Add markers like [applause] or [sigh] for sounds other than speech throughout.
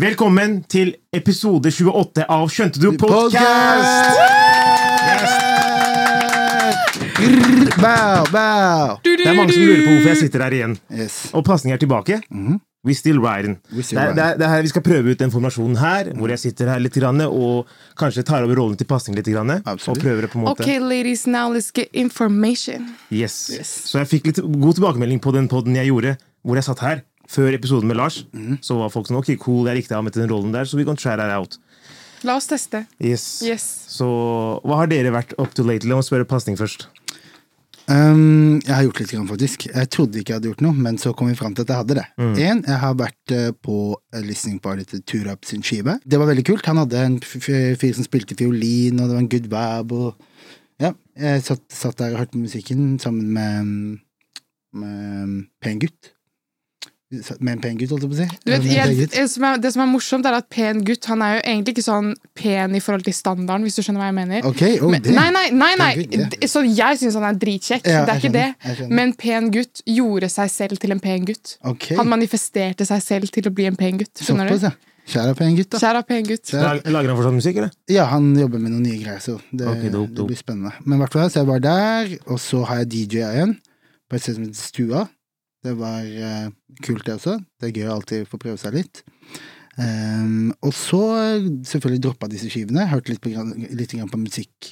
Velkommen til episode 28 av Skjønte du podkast! Grr, Bow, bow. Det er mange som lurer på hvorfor jeg sitter her igjen. Yes. Mhm. Og pasning er tilbake. We still riding. We still det, er- riding. det, er- det er her vi skal prøve ut den formasjonen her, hvor jeg sitter her litt grann, og kanskje tar over rollen til pasning litt. Grann, og Absolutt. prøver det på en måte. Okay, ladies, now let's get information. Yes. Så jeg fikk litt god tilbakemelding på den podden jeg gjorde, hvor jeg satt her før episoden med Lars. Mhm. Så var folk sånn Ok, cool, jeg likte ham etter den rollen der, så we can try that out. La oss teste. Yes. Yes. Så hva har dere vært up to lately? La meg spørre pasning først. Um, jeg har gjort litt, grann, faktisk. Jeg trodde ikke jeg hadde gjort noe, men så kom vi fram til at jeg hadde det. Mm. En, jeg har vært eh, på eh, listening party til Turab sin skive. Det var veldig kult. Han hadde en f- f- fyr som spilte fiolin, og det var en good vibe. Og, ja. Jeg satt, satt der og hørte på musikken sammen med, mm, med mm, pen gutt. Satt Med en pen gutt, holdt jeg på å si. Du Med vet, en pen jeg, gutt. det, som er, det som er morsomt, er at pen gutt Han er jo egentlig ikke sånn pen i forhold til standarden, hvis du skjønner hva jeg mener. Ok, oh, Men, det. nei, nei, nei, nei. Pen gutt, d- Så jeg syns han er dritkjekk, Ja, det er jeg ikke det. skjønner, jeg skjønner. Men pen gutt gjorde seg selv til en pen gutt. Ok. Han manifesterte seg selv til å bli en pen gutt. Skjønner Såpass, du? ja. Kjære pen gutt, da. Kjære pen gutt. Ja. Lag- Lager han fortsatt musikk, eller? Ja, han jobber med noen nye greier, så det, Ok, dope, det dope. blir spennende. Men i hvert fall, så jeg var der, og så har jeg DJ igjen på et sted som heter Stua. Det var eh, kult, det også. Det er gøy å alltid få prøve seg litt. Ehm, og så selvfølgelig droppa disse skivene. Hørte litt, på, grann- litt grann på musikk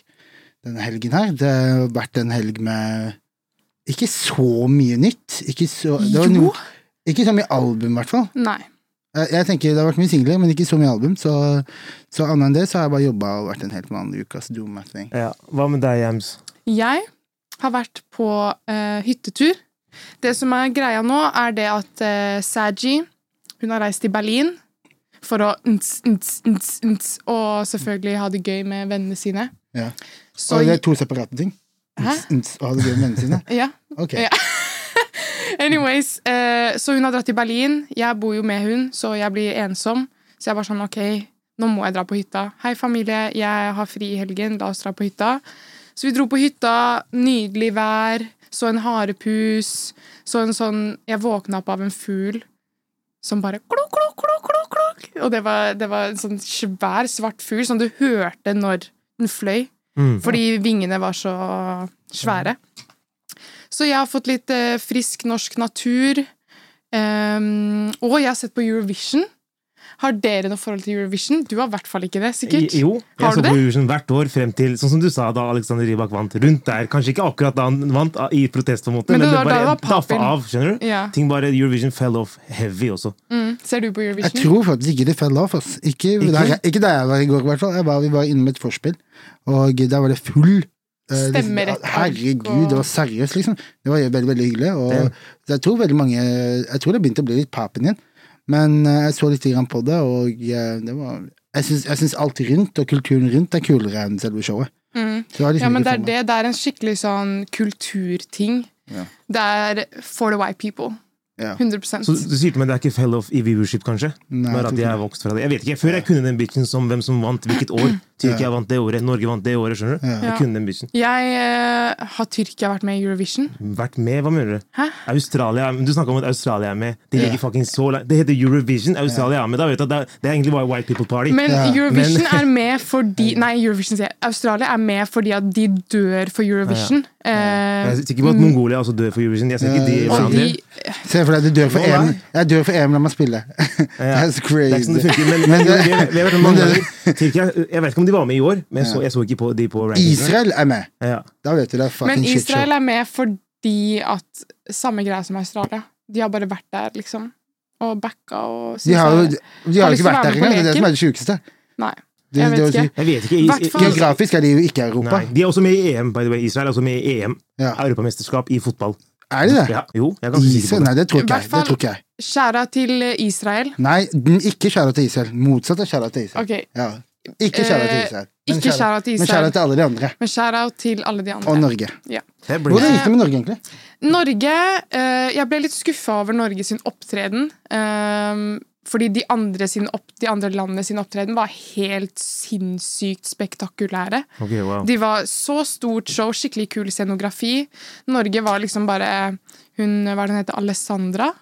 denne helgen her. Det har vært en helg med ikke så mye nytt. Ikke så, det var Jo! noe, ikke så mye album, i hvert fall. Nei. Eh, Jeg jeg tenker Det har vært mye singler, men ikke så mye album. Så, så annet enn det så har jeg bare jobba og vært en helt vanlig ukas do my thing. Ja. Hva med deg, Jams? Jeg har vært på eh, hyttetur. Det som er greia nå, er det at uh, Saji hun har reist til Berlin for å nts, nts, nts, nts, og selvfølgelig ha det gøy med vennene sine. Ja. Så, Og det er to separate ting. Hæ? Ns, ns, Og ha det gøy med vennene sine. ja. Ok. Ja. Anyways, eh, så hun har dratt til Berlin. Jeg bor jo med hun, så jeg blir ensom. Så jeg var sånn, ok, nå må jeg dra på hytta. Hei familie, jeg har fri i helgen, la oss dra på hytta. Så vi dro på hytta, nydelig vær, så en harepus, så en sånn, jeg våkna opp av en fugl som bare klok, klok, klok, klok, klok. Og det var, det var en sånn svær, svart fugl som du hørte når den fløy. Mm. Fordi vingene var så svære. Så jeg har fått litt eh, frisk norsk natur. Ehm, og jeg har sett på Eurovision. Har dere noe forhold til Eurovision? Du har i hvert fall ikke det, sikkert. I- Jo, jeg Har så på du det? Eurovision hvert år frem til sånn som du sa da Alexander Rybak vant. Rundt der, Kanskje ikke akkurat da han vant, a- i protest, på en måte, Men men, det det var da bare det var daffa papir. av. skjønner du? Ja. Ting bare, Eurovision fell off heavy også. Mm. Ser du på Eurovision? Jeg tror faktisk ikke det fell off. Ass. Ikke, Ikke? Der, jeg- ikke der jeg var i går, i hvert fall. Jeg var, vi var innom et vorspiel, og der var det full eh, liksom, Stemmerett, ark Herregud, og- det var seriøst, liksom. Det var veldig veldig hyggelig. Og Ja. så jeg tror veldig mange Jeg tror det begynte å bli litt papen igjen. Men eh, jeg så litt grann på det, og eh, det var Jeg syns- jeg syns alt rundt, og kulturen rundt, er kulere enn selve showet. Mm. Så det var liksom Ja, men ikke det for er meg. det. Det er en skikkelig sånn kulturting. Ja. Det er for the white people. Ja. 100 Så du sier til meg det er ikke fell off i viewership, kanskje? Nei, jeg Bare tror at jeg er vokst fra det. Jeg vet ikke, Før jeg kunne den bitchen som hvem som vant hvilket [clears throat] år. Tyrkia vant det året, Norge vant det året. skjønner du? Jeg kunne den bitchen. Jeg eh, har Tyrkia vært med i Eurovision. Vært med, hva mener du? Hæ? Australia, men Du snakka om at Australia er med. De ligger fucking så langt. Det heter Eurovision. Australia er med. Da vet du at det er, det er egentlig bare White People Party. Men Ja. Eurovision Men- er med [laughs] fordi Nei, Eurovision sier jeg. Australia er med fordi at de dør for Eurovision. jeg Eh, er sikker på at Mongolia også dør for Eurovision. Jeg ser ikke de Ja, og landene. vi Se for deg, du dør for Nå, EM. nei. Jeg dør for EM, la meg spille. [laughs] That's Det er ikke sånn det crazy. funker, men, Men men det- vi, har- vi har vært med mange ganger. Tyrkia, jeg vet ikke om de var med i år, men jeg så, jeg så ikke på de på rankingen. Israel er med. Ja. Da vet du det er Men fucking shit show. Israel er med fordi at Samme greia som Australia. De har bare vært der, liksom. Og backa og De har jo synes jeg- de har jo Har lyst ikke til å vært være der med på engang. Det er det som leken. er det sjukeste. Nei. Det- Jeg vet det å si- ikke. Jeg vet ikke. Hvert fall- Israel- Geografisk er de jo ikke i Europa. Nei, de er også med i EM, by the way. Israel er også med i EM. Ja. Europamesterskap i fotball. Er de det? Ja. Jo, jeg er ganske sikker Israel? på det. Nei, det tror ikke I jeg. hvert Det fall- tror ikke jeg. Skjæra til Israel. Nei, den ikke skjæra til Israel. Motsatt av skjæra til Israel. Ok, Ja. Ikke skjæra til Eh, Israel. ikke shout-out til Men Israel. skjæra til alle de andre. men skjæra til alle de andre. Og Norge. Det blir- Hvordan gikk det med Norge, egentlig? Norge eh, Jeg ble litt skuffa over Norge sin opptreden. eh, fordi de andre, sin opp, de andre landene sin opptreden var helt sinnssykt spektakulære. Ok, wow. De var så stort show, skikkelig kul scenografi. Norge var liksom bare Hun, hva er det hun heter, Alessandra?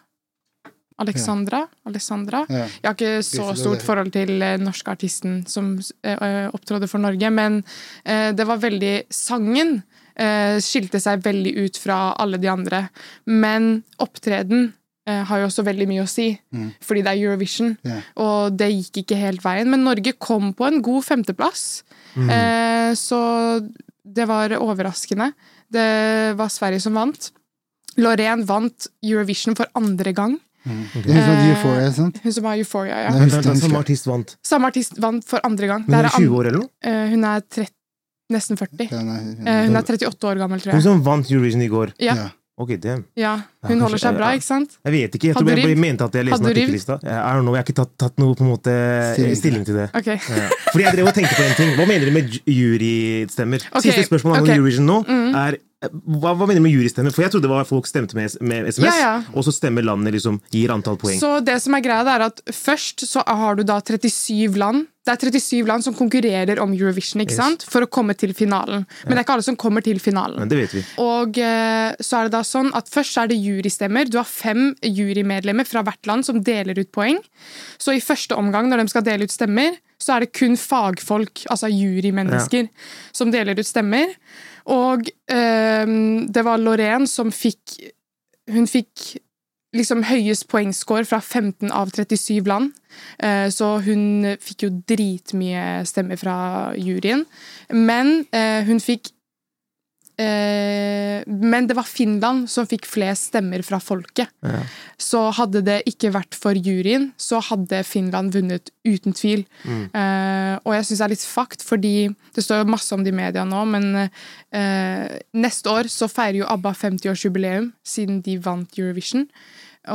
Alexandra? Alessandra? Ja. Jeg har ikke så Visste du stort det? forhold til eh, norske artisten som eh, eh, opptrådde for Norge, men eh, det var veldig Sangen eh, skilte seg veldig ut fra alle de andre. Men opptreden eh, har jo også veldig mye å si, Mm. fordi det er Eurovision. Ja. Og det gikk ikke helt veien. Men Norge kom på en god femteplass, eh, så det var overraskende. Det var Sverige som vant. Lorraine vant Eurovision for andre gang. Det er sånn euphoria, sant? Hun som har Euphoria, Eh, ja. Nei, Vent, husker vent, vent, Mm. jeg. Som artist vant. Samme artist vant for andre gang. Men hun Det er her er 20 år eller noe? an- eh, hun er trett- nesten 40. Ja, nei, Eh, hun er 38 år gammel, tror Hun jeg. som vant Eurovision i går. Ja, ja. Ok, damn. ja. Hun holder seg bra, ikke sant? Jeg vet ikke. Jeg Hadde tror jeg du bare ringt? mente at jeg leste en Hadde du artikkellista. Eh, I don't know, Jeg har ikke tatt, tatt noe på en måte eh, Stilling til stilling til det. Ok. Ja. Fordi jeg drev og tenkte på en ting. Hva mener du med ju- jurystemmer? Ok, Siste spørsmål angående ok. Mm. Eurovision nå er eh, hva, hva mener du med jurystemmer? For jeg trodde det var folk stemte med, s- med SMS, Ja, ja. og så stemmer landene liksom gir antall poeng. Så det som er greia, det er at først så har du da 37 land. Det er 37 land som konkurrerer om Eurovision ikke Yes. sant? for å komme til finalen. Men det er ikke alle som kommer til finalen. Men det vet vi. Og eh, så er det da sånn at først er det jurystemmer. Du har fem jurymedlemmer fra hvert land som deler ut poeng. Så i første omgang, når de skal dele ut stemmer, så er det kun fagfolk, altså jurymennesker, som deler ut stemmer. Og eh, det var Lorraine som fikk Hun fikk liksom høyest poengscore fra 15 av 37 land. Eh, Så hun fikk jo dritmye stemmer fra juryen. Men eh, hun fikk eh, Men det var Finland som fikk flest stemmer fra folket. Ja. Så hadde det ikke vært for juryen, så hadde Finland vunnet uten tvil. Eh, og jeg syns det er litt fucked, fordi det står jo masse om det i media nå, men eh, neste år så feirer jo ABBA 50-årsjubileum siden de vant Eurovision.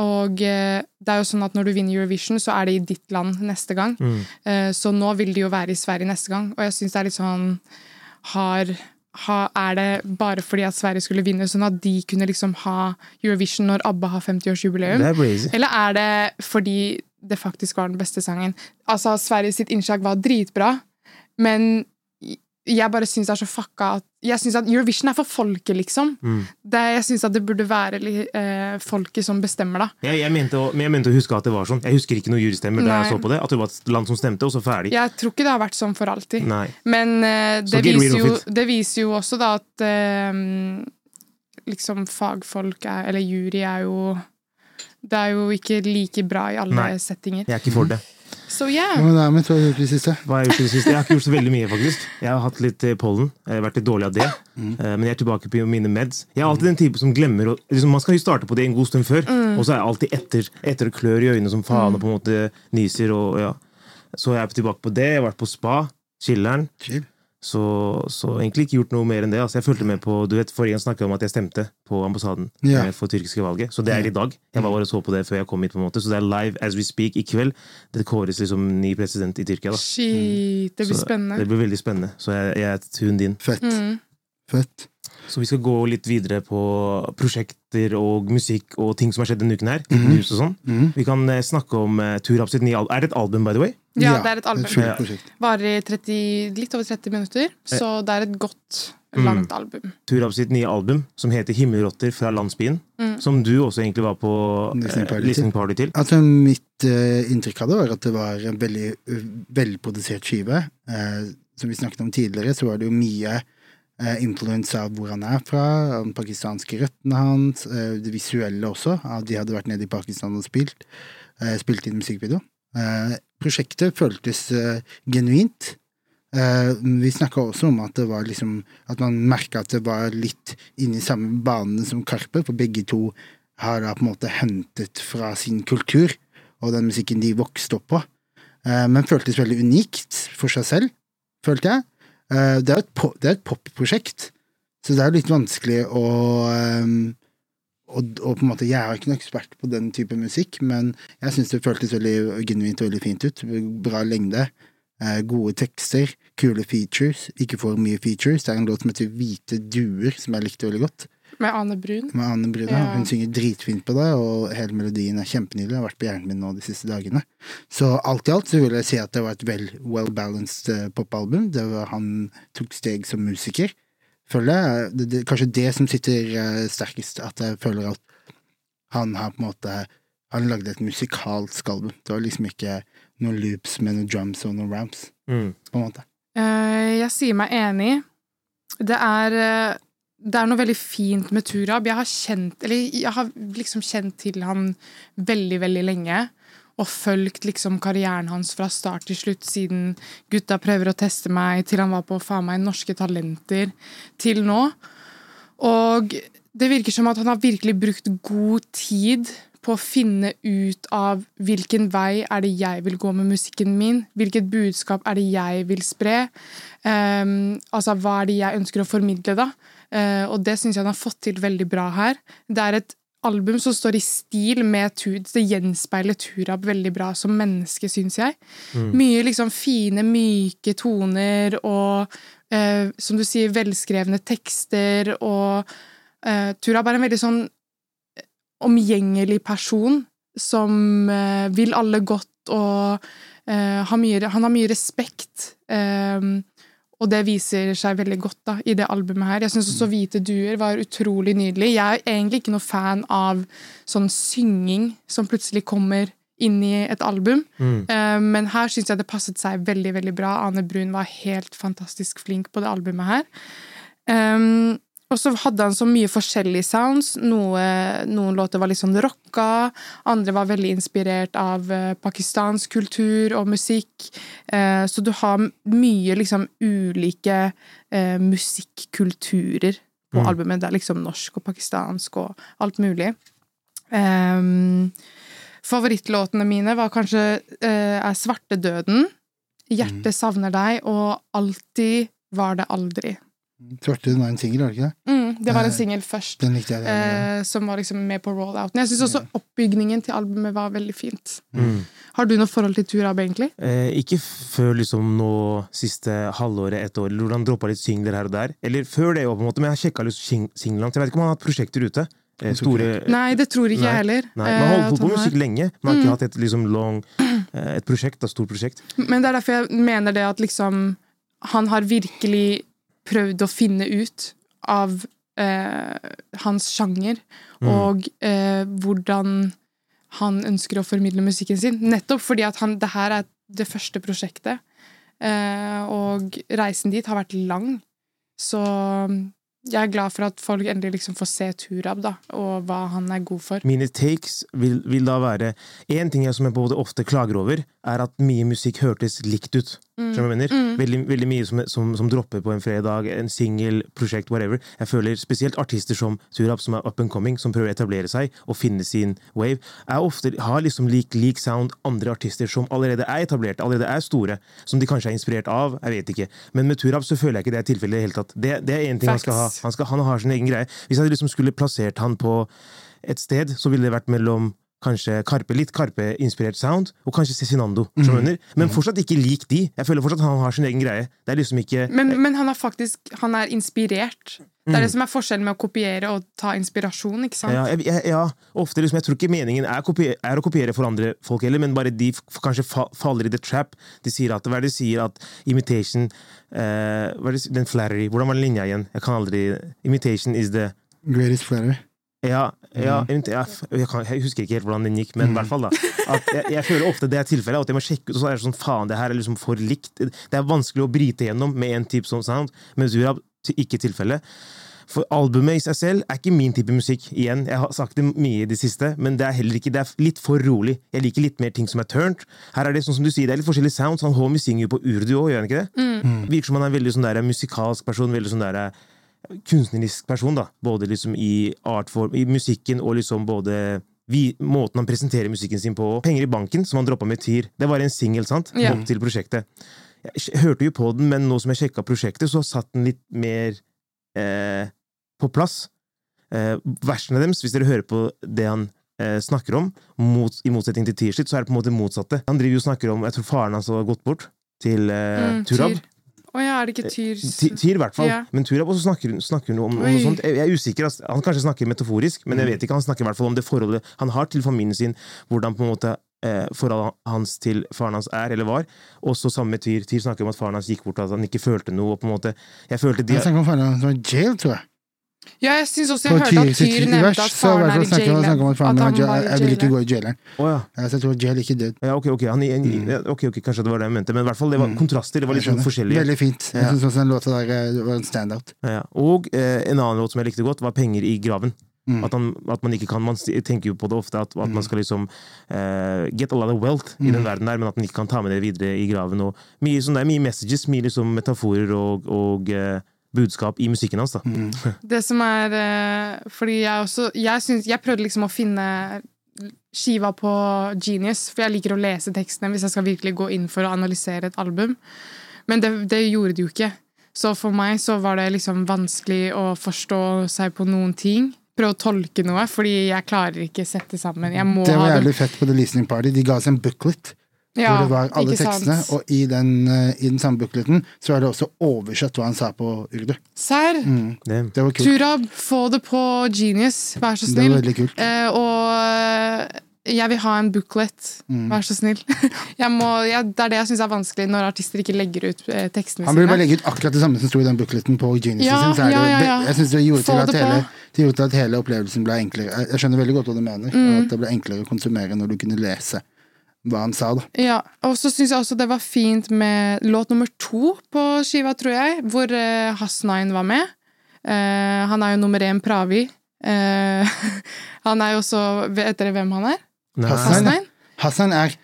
Og eh, det er jo sånn at når du vinner Eurovision, så er det i ditt land neste gang. Eh, så nå vil det jo være i Sverige neste gang, og jeg syns det er litt sånn har, ha, Er det bare fordi at Sverige skulle vinne, sånn at de kunne liksom ha Eurovision når ABBA har 50-årsjubileum? Det er crazy. Eller er det fordi det faktisk var den beste sangen? Altså, Sverige sitt innslag var dritbra, men jeg bare syns det er så fucka at Jeg syns at Eurovision er for folket, liksom. Mm. Det, jeg syns at det burde være li- eh, folket som bestemmer, da. Jeg, jeg, mente å, men jeg mente å huske at det var sånn. Jeg husker ikke noen jurystemmer da jeg Nei. så på det. At det var et land som stemte, og så ferdig. Jeg tror ikke det har vært sånn for alltid. Nei. Men eh, Så det, get rid viser of jo, it. det viser jo også da at eh, liksom fagfolk er, eller jury er jo Det er jo ikke like bra i alle Nei. settinger. Jeg er ikke for det. Så Ja, yeah. men det er med to uker i siste. Hva har jeg gjort i det siste? Jeg har ikke gjort så veldig mye, faktisk. Jeg har hatt litt eh, pollen. Jeg har vært litt dårlig av det. Eh, Men jeg er tilbake på mine meds. Jeg er alltid den type som glemmer å liksom, Man skal jo starte på det en god stund før, og så er jeg alltid etter, etter og klør i øynene som faen og på en måte nyser og ja. Så jeg er tilbake på det. Jeg har vært på spa. Chiller'n. Chill. Så, så egentlig ikke gjort noe mer enn det. Altså, jeg fulgte med på, du vet, Forrige gang snakka jeg om at jeg stemte på ambassaden Ja. eh, for tyrkiske valget. Så det er i dag. Jeg var bare og så på det før jeg kom hit. på en måte Så det er live as we speak i kveld. Det kåres liksom ny president i Tyrkia. da Shit, det blir Så spennende. Det blir veldig spennende. Så jeg, jeg er hun din. Fett. Mm. Fett. Så vi skal gå litt videre på prosjekter og musikk og ting som har skjedd denne uken her. News og sånn. Mhm. Vi kan eh, snakke om uh, Turab sitt nye album. Er det et album, by the way? Ja, det er et album. fullt prosjekt. Varer i 30, litt over 30 minutter, så det er et godt, langt album. Turab sitt nye album som heter 'Himmelrotter fra landsbyen'. Som du også egentlig var på Listening uh, party til. listening party til. Altså, mitt eh, inntrykk av det var at det var en veldig eh, velprodusert skive. Eh, som vi snakket om tidligere, så var det jo mye uh, influence av hvor han er fra, av den pakistanske røttene hans, eh, det visuelle også. av de hadde vært nede i Pakistan og spilt. eh, spilt inn musikkvideo. Eh, prosjektet føltes eh, genuint. Eh, vi snakka også om at det var liksom At man merka at det var litt inni samme banene som Karpe, for begge to har da på en måte hentet fra sin kultur og den musikken de vokste opp på. Eh, men føltes veldig unikt for seg selv, følte jeg. Eh, det er jo et po- det er et popprosjekt, så det er jo litt vanskelig å eh, Og, og på en måte, jeg er ikke noen ekspert på den type musikk, men jeg syns det føltes veldig genuint og veldig fint ut. Bra lengde, eh, gode tekster, kule features, ikke for mye features. Det er en låt som heter Hvite duer, som jeg likte veldig godt. Med Ane Brun. Med Anne Bruna. Ja. Hun synger dritfint på det, og hele melodien er kjempenydelig. Har vært på hjernen min nå de siste dagene. Så alt i alt så vil jeg si at det var et vel well-balanced eh, popalbum. Det var, han tok steg som musiker, føler jeg. Det, det, kanskje det som sitter eh, sterkest, at jeg føler at han har på en måte Han lagde et musikalsk album. Det var liksom ikke noen loops med noen drums og noen ramps, Mm. på en måte. Eh, jeg sier meg enig. Det er, eh, det er noe veldig fint med Turab. Jeg har kjent, eller jeg har liksom kjent til han veldig, veldig lenge. Og fulgt liksom karrieren hans fra start til slutt, siden gutta prøver å teste meg, til han var på faen meg Norske Talenter, til nå. Og det virker som at han har virkelig brukt god tid på å finne ut av hvilken vei er det jeg vil gå med musikken min, hvilket budskap er det jeg vil spre, ehm, altså hva er det jeg ønsker å formidle, da. Eh, og det syns jeg han har fått til veldig bra her. Det er et album som står i stil med Tud. Det gjenspeiler Turab veldig bra som menneske, syns jeg. Mye liksom fine, myke toner og eh, som du sier, velskrevne tekster og eh, Turab er en veldig sånn omgjengelig person som eh, vil alle godt og eh, har mye, han har mye respekt. eh, og det viser seg veldig godt da, i det albumet her. Jeg syns også Hvite duer var utrolig nydelig. Jeg er egentlig ikke noe fan av sånn synging som plutselig kommer inn i et album, Mm. Eh, men her syns jeg det passet seg veldig veldig bra. Ane Brun var helt fantastisk flink på det albumet her. Ehm, og så hadde han så mye forskjellige sounds. Noe, noen låter var litt sånn rocka, andre var veldig inspirert av eh, pakistansk kultur og musikk. Eh, så du har m- mye liksom ulike eh, musikkulturer på Mm. albumet. Det er liksom norsk og pakistansk og alt mulig. Ehm, favorittlåtene mine var kanskje eh, er 'Svartedøden', Mm. 'Hjertet savner deg' og 'Alltid var det aldri'. Svarte var en singel, var det ikke det? Mm, det var en Eh, singel først, Den likte jeg. den gangen. eh, som var liksom med på rollouten. Jeg syns også oppbygningen til albumet var veldig fint. Mm. Har du noe forhold til Turab, egentlig? Eh, ikke før liksom nå siste halvåret, ett år, eller hvordan droppa litt singler her og der. Eller før det òg, på en måte, men jeg sjekka litt sing- singlene hans. Jeg vet ikke om han har hatt prosjekter ute. Eh, store Nei, det tror ikke Nei. jeg heller. Nei, Man har eh, at holdt på han med har. Mm. musikk lenge, men har ikke hatt et liksom long eh, Et prosjekt, et stort prosjekt. Men det er derfor jeg mener det at liksom Han har virkelig prøvd å finne ut av eh, hans sjanger og eh, hvordan han ønsker å formidle musikken sin. Nettopp fordi at han, det her er det første prosjektet. Eh, og reisen dit har vært lang. Så mm, jeg er glad for at folk endelig liksom får se Turab, da, og hva han er god for. Mine takes vil, vil da være Én ting jeg som jeg på en måte ofte klager over, er at mye musikk hørtes likt ut. Skjønner du hva jeg mener? Veldig, veldig mye som, som, som dropper på en fredag, en singel, prosjekt, whatever. Jeg føler spesielt artister som Surab, som er up and coming, som prøver å etablere seg og finne sin wave, er ofte, har liksom lik, lik sound andre artister som allerede er etablerte, allerede er store, som de kanskje er inspirert av, jeg vet ikke. Men med Turab så føler jeg ikke det er tilfellet i det hele tatt. Det, det er én ting han skal ha. Facts. Han, skal, han har sin egen greie. Hvis jeg liksom skulle plassert han på et sted, så ville det vært mellom kanskje Karpe, litt Karpe-inspirert sound, og kanskje Cezinando. skjønner du? Men fortsatt ikke lik de. Jeg føler fortsatt han har sin egen greie. Det er liksom ikke Men, men han er faktisk han er inspirert. Det Mm. er det som er forskjellen med å kopiere og ta inspirasjon. ikke sant? ja, jeg, jeg, ja, ofte liksom, jeg tror ikke meningen er, kopie, er å kopiere for andre folk heller, men bare de f kanskje fa faller i the trap. De sier at, hva er det de sier at imitation eh, hva er det, de sier- Den flattery. Hvordan var den linja igjen? Jeg kan aldri Imitation is the Greatest Flatter. Ja, ja, eventu- ja f- jeg, kan, jeg husker ikke helt hvordan den gikk, men i hvert fall da. At jeg, jeg føler ofte det er tilfellet, og at jeg må sjekke ut, og så er det sånn faen, det her er liksom for likt. Det er vanskelig å bryte gjennom med en type sånn sound, men Zurab til- ikke tilfellet. For albumet i seg selv er ikke min type musikk, igjen. Jeg har sagt det mye i det siste, men det er heller ikke, det er litt for rolig. Jeg liker litt mer ting som er turnt. Her er det sånn som du sier, det er litt Sånn forskjellige sounds. Han Homi synger jo på urdu òg, gjør han ikke det? Mm. Virker som han er en veldig sånn der musikalsk person, veldig sånn der kunstnerisk person, da. Både liksom i artform, i musikken, og liksom både vi, måten han presenterer musikken sin på. Penger i banken, som han droppa med Tyr. Det var en singel, sant? Ja. Opp til prosjektet. Jeg sj- hørte jo på den, men nå som jeg sjekka prosjektet, så satt den litt mer eh, på plass. eh, versene deres, hvis dere hører på det han eh, snakker om, mot, i motsetning til Tirshit, så er det på en måte motsatte. Han driver jo og snakker om Jeg tror faren hans har gått bort til eh, Mm, Turab. Tyr. Å ja, er det Eh, ikke Tyr Ti- Tyr, i hvert fall. Ja. Men Turab også snakker, hun- snakker hun om, om Oi. noe sånt. Jeg jeg er usikker. ass. Han kanskje snakker metaforisk, men jeg vet ikke. Han snakker i hvert fall om det forholdet han har til familien sin, hvordan på en måte eh, forholdet hans til faren hans er eller var. Også sammen med Tyr. Tyr snakker om at faren hans gikk bort, at han ikke følte noe. Og på en måte, jeg følte de, Jeg snakker om faren hans var i jail, tror jeg. Ja, jeg syns også På jeg hørte Tyr at Tyr sitt nevnte vers at så var faren det er i sånn snakket om- snakket om at faren jailen. var i At jail. han Jeg vil ikke gå i jaileren. Å ja. Mm. Ja, så Jeg tror jail ikke død. Ja, ok, ok, han, ok, ok, kanskje det var det jeg mente. Men i hvert fall, det var kontraster. Det var litt sånn forskjellige. Veldig fint. Jeg Ja. synes også den låta der eh, det var en standout. Ja, og eh, en annen låt som jeg likte godt, var 'Penger i graven'. Mm. At, han, at Man ikke kan, man s- tenker jo på det ofte, at, at man skal liksom eh, get a lot of wealth i Mm. den verden der, men at man ikke kan ta med det videre i graven. Og mye, sånn der, mye messages, mye liksom metaforer og, og eh, budskap i musikken hans. da. Mm. Det som er eh, Fordi jeg også jeg, syns- jeg prøvde liksom å finne skiva på Genius, for jeg liker å lese tekstene hvis jeg skal virkelig gå inn for å analysere et album. Men det, det gjorde det jo ikke. Så for meg så var det liksom vanskelig å forstå seg på noen ting. Prøve å tolke noe, fordi jeg klarer ikke sette sammen. Jeg må Det var ha jævlig fett på The Listening Party. De ga oss en booklet Ja, hvor det var alle ikke tekstene. sant? Og i den, eh, i den samme bookleten så er det også oversatt hva han sa på urdu. Serr? Mm. Det, Det var kult. Turab, få det på Genius, vær så Det snill. var veldig kult. Eh, og eh, jeg vil ha en booklet, Mm. vær så snill. [laughs] jeg må, jeg, det er det jeg syns er vanskelig når artister ikke legger ut eh, tekstene Han sine. burde bare legge ut akkurat det samme som sto i den bookleten på Geniusen Ja, sin. Så er det, ja, ja, jo- ja. Jeg synes det gjorde Få til at, det på. hele, det gjorde til at hele opplevelsen ble enklere. Jeg- Jeg skjønner veldig godt hva du mener. Mm. At det ble enklere å konsumere når du kunne lese hva han sa. da. Ja, og så syns jeg også det var fint med låt nummer to på skiva, tror jeg, hvor eh, Hasnain var med. Eh, han er jo nummer én Pravi. Eh, [laughs] han er jo også Vet dere hvem han er? nei, Hassan. Hasnain? Hassan er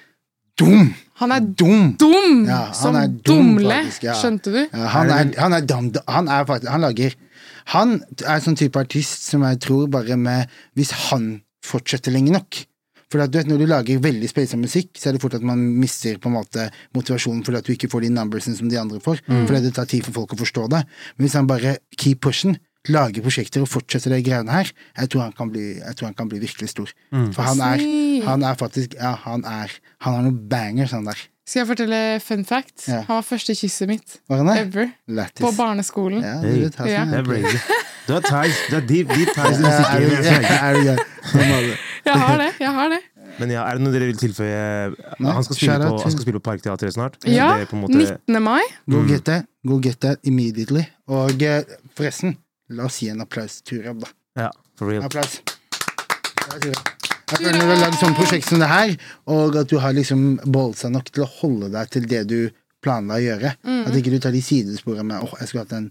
dum! Han er Dum! dum! Ja, han som er dum, dumle! faktisk, ja. Skjønte du? Ja, han, er, han er dum. Han er faktisk Han lager Han er sånn type artist som jeg tror bare med Hvis han fortsetter lenge nok for at du vet, Når du lager veldig spesiell musikk, så er det fort at man mister på en måte motivasjonen fordi at du ikke får de numbersene som de andre får. Fordi det tar tid for folk å forstå det. Men hvis han bare keep pushing, lager prosjekter og fortsetter de greiene her, jeg tror han kan bli, jeg tror han kan bli virkelig stor. For han er, Snill. han er faktisk Ja, han er Han har noen bangers, han der. Skal jeg fortelle fun fact? Ja. Han var første kysset mitt Var han det? ever på Lættis. barneskolen. Ja, Hey. du vet, Hassan, Ja. det er brazy. Du har ties, du har deep, deep ties i Ja, er musikken. du- jeg kjenner. er du gøy? Som alle. Jeg har det. jeg har det Men ja, er det noe dere vil tilføye? Nei, Han skal spille shout out på, til- han skal spille på Parkteatret snart. Ja, Det er på en måte, 19. mai. Go get that. Go get that immediately. Og eh, forresten, la oss gi en applaus til Turab, da. ja, for real. Applaus. Ja, Turab. Jeg føler når du har lagd sånn prosjekt som det her, og at du har liksom ballsa nok til å holde deg til det du planla å gjøre. Mm. At ikke du tar de sidesporene med åh, jeg skulle hatt en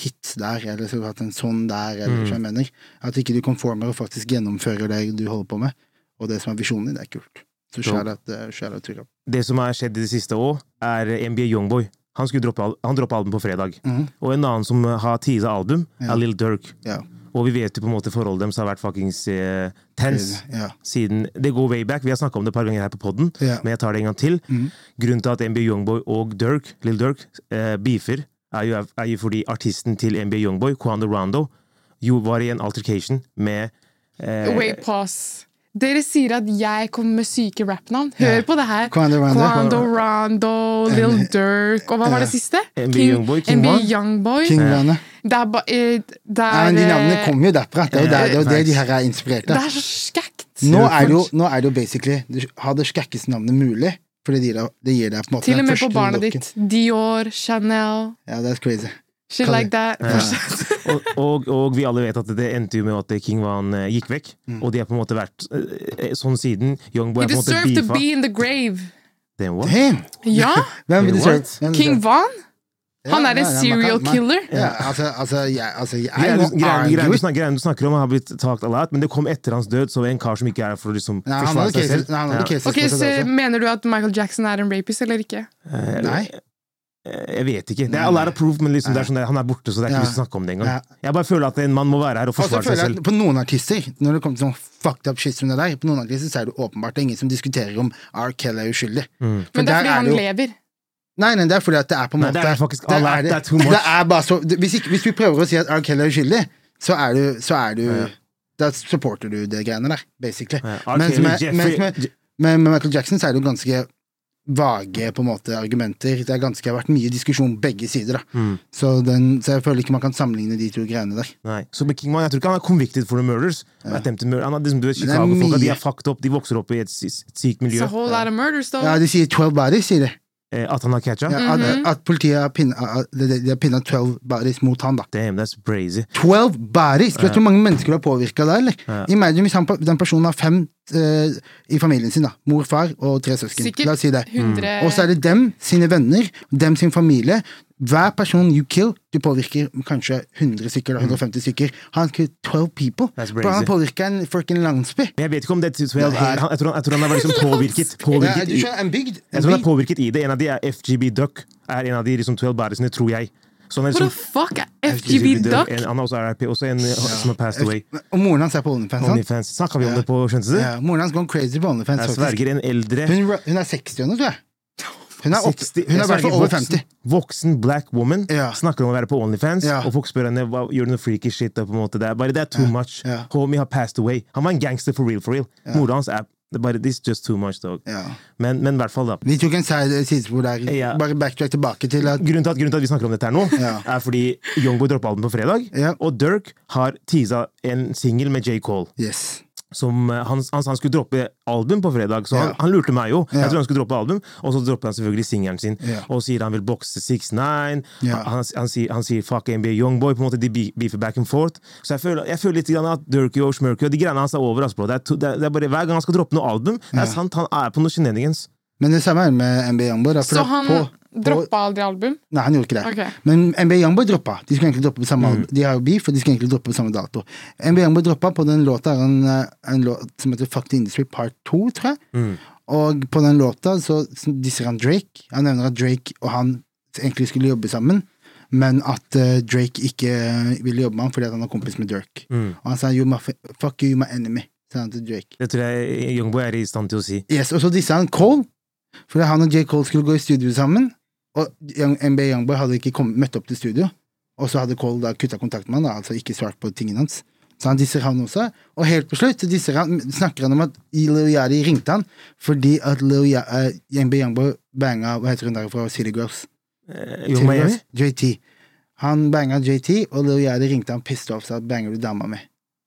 hit der, eller skulle hatt en sånn der, eller hva jeg mener. At ikke du konformer og faktisk gjennomfører det du holder på med, og det som er visjonen din, det er kult. Så eh, Dope. skjær deg, Turab. det som har skjedd i det siste òg, er NBA Youngboy. Han skulle droppe, al- han droppa album på fredag. Og en annen som har teasa album, er Lil Durk. Ja. Og vi vet jo på en måte forholdet deres har vært fuckings eh, tense Ja. siden Det går way back. Vi har snakka om det et par ganger her på poden, Ja. Mm. men jeg tar det en gang til. Grunnen til at NBA Youngboy og Dirk, Lil Durk, eh, beefer, er jo, er jo fordi artisten til NBA Youngboy, Quando Rondo, jo var i en altercation med eh, Wait, pause. Dere sier at jeg kommer med syke rappnavn. Hør på det her. Quando Rondo. Quando Rondo, Lil Durk Og hva var det siste? NBA Youngboy, King NBA Von. Youngboy. King Rane. Det er ba... eh, Det Nei, er men de navnene eh, kommer jo derfra. Det er jo der, det er jo det de her er inspirert Det av. er så skækt. Nå er det jo, nå er det jo basically du Ha det skakkeste navnet mulig, for det gir deg, det gir deg på en måte Til og den med på første barnet looken. ditt. Dior, Chanel, Ja, that's crazy. shit Kan- like that. og, og, og vi alle vet at det endte jo med at King Van eh, gikk vekk. Mm. Og de har på en måte vært eh, eh, sånn siden. Youngboy You er på en måte deserve to beefa. be in the grave. Damn, what? Damn! Ja! Hvem Wait, vil du what? se? King Van? Han Mm. Ja, er en ja, ja, man serial kan- man- killer. Ja, altså, altså, jeg, altså, jeg Greiene må du- greiene- argue greiene du with- snakker- greiene du snakker om, har blitt talked a lot, men det kom etter hans død, så en kar som ikke er her for å liksom Nei, han forsvare hadde seg cases, selv. nei, han hadde Ja. cases Ok, på så seg også. Mener du at Michael Jackson er en rapist eller ikke? Nei. Eh, Jeg vet ikke. Det er a lot of proof, men liksom, det er sånn der, han er borte, så det er ikke Ja. lyst til å snakke om det engang. Ja. Jeg bare føler at en mann må være her og Og så forsvare seg føler Altså, jeg selv. at på noen artister, når det kommer til sånn fucked up shit som det der, på noen artister så er det åpenbart det er ingen som diskuterer om R. Kelly er uskyldig. Mm. For Men det der er fordi det han jo- lever. Nei, nei, det er fordi at det er på en Nei, måte det er faktisk- det alle er- er det- det er too much. det er bare så, det- hvis, ikke, hvis vi prøver å si at R. Kelly er uskyldig, så er du, så er du Ja. Da supporter du det greiene der, basically. Ja, R. Mens Kelly, med, Jeffrey- mens med, men med Michael Jackson så er det jo ganske vage på en måte argumenter. Det er ganske, det har vært mye diskusjon begge sider. da. Mm. Så, den, så jeg føler ikke man kan sammenligne de to greiene der. Nei. Så med Kingman, jeg tror ikke han er convicted for the murders. Attempted murder. Han er, liksom, du vet, Men det er Chicago-folka de mye. er fucked up, de vokser opp i et sy- sykt It's miljø. a whole lot of murders, though. Ja, De sier 12 bodies, sier de. Eh, At han har catcha? Ja, at, at politiet har pinna, at de- de har pinna 12 bodies mot han, da. Damn, that's crazy. 12 bodies! Vet du hvor mange mennesker du har påvirka da, eller? Imagine hvis han, den personen har fem eh, i familien sin, da. Mor, far og tre søsken. Sikkert La oss si det. Mm. 100 Og så er det dem, sine venner, dem sin familie. Hver person you kill, du påvirker kanskje 100 stykker, da, 150 stykker. Han killed 12 people. Mm. That's Bro, han crazy. påvirka en fucking landsby. Men jeg vet ikke om det er 12 Nei. er han, jeg, tror han, jeg tror han er [laughs] liksom påvirket. Ja, påvirket du i, skjønner, en bygd. jeg En tror han er bygd. påvirket i det. En av de er FGB Duck. Er en av de liksom 12 bæresene, tror jeg. Så han er What the liksom fuck er FGB Duck? En, han er også RIP. Også en eh, som har passed away. Og moren hans er på OnlyFans. sant? Onlyfans. Snakka vi om det på Skjønte du? Ja, moren hans gone crazy på OnlyFans. Jeg faktisk. sverger en eldre Hun, hun er 60 nå, tror jeg. Hun er, opp, 60 hun er i jeg hvert fall sverger, over voksen- 50. Voksen black woman Ja. snakker om å være på Onlyfans, Ja. og folk spør henne hva, gjør du noe freaky shit. Da, på en måte. Det er bare det er too much. Ja. Homie har passed away. Han var en gangster for real, for real. Mora hans er det er bare, This is just too much, dog. Ja. Men, men i hvert fall, da. Vi tok en side- sidespor der. Ja. Bare backtrack tilbake til at Grunnen til, at, grunnen til at vi snakker om dette her nå, Ja. er fordi Youngboy droppa album på fredag, Ja. og Dirk har teasa en singel med J. Cole. Yes. som eh, han, han sa han skulle droppe album på fredag, så han, Ja. han lurte meg jo. Ja. Jeg trodde han skulle droppe album, og så dropper han selvfølgelig singelen sin. Ja. Og sier han vil bokse 6ix9ine. Ja. Han, han, han, sier- han sier fuck NBA Youngboy. På en måte de be- beefer back and forth. Så jeg føler, jeg føler litt grann at Durky og Schmurky og de greiene hans er over. ass, bro. Det er, to, det er, det er bare Hver gang han skal droppe noe album, det Ja. er sant, han er på noe shenanigans. Men det samme er med MB Youngboy. da, for Så da- han Altså, på- droppa aldri album? Nei, han gjorde ikke det. Ok. Men MB Youngboy droppa. De skulle egentlig droppe på samme De har jo beef, og de skulle egentlig droppe på samme dato. MB Youngboy droppa på den låta er en, eh, en låt som heter Fuck the Industry Part 2, tror jeg. Og på den låta så disser han Drake. Han nevner at Drake og han egentlig skulle jobbe sammen, men at eh, Drake ikke eh, ville jobbe med ham fordi at han er kompis med Dirk. Og han sa you're my, f- fuck you, you're my enemy, sa han til Drake. Det tror jeg Youngboy er i stand til å si. Yes, og så dissa han Cole, fordi han og J. Cole skulle gå i studio sammen. Og Young, MB Youngboy hadde ikke kommet, møtt opp til studio, og så hadde Cole da kutta kontakten med han, da, altså ikke svart på tingene hans. Så han disser han også. Og helt på slutt så disser han, snakker han om at Lil Yari ringte han fordi at Lil Ya- eh, MB Youngboy banga hva heter hun der fra City Girls? Eh, Young Miami? JT. Han banga JT, og Lil Yari ringte han pissed off sa at 'banger du dama mi'?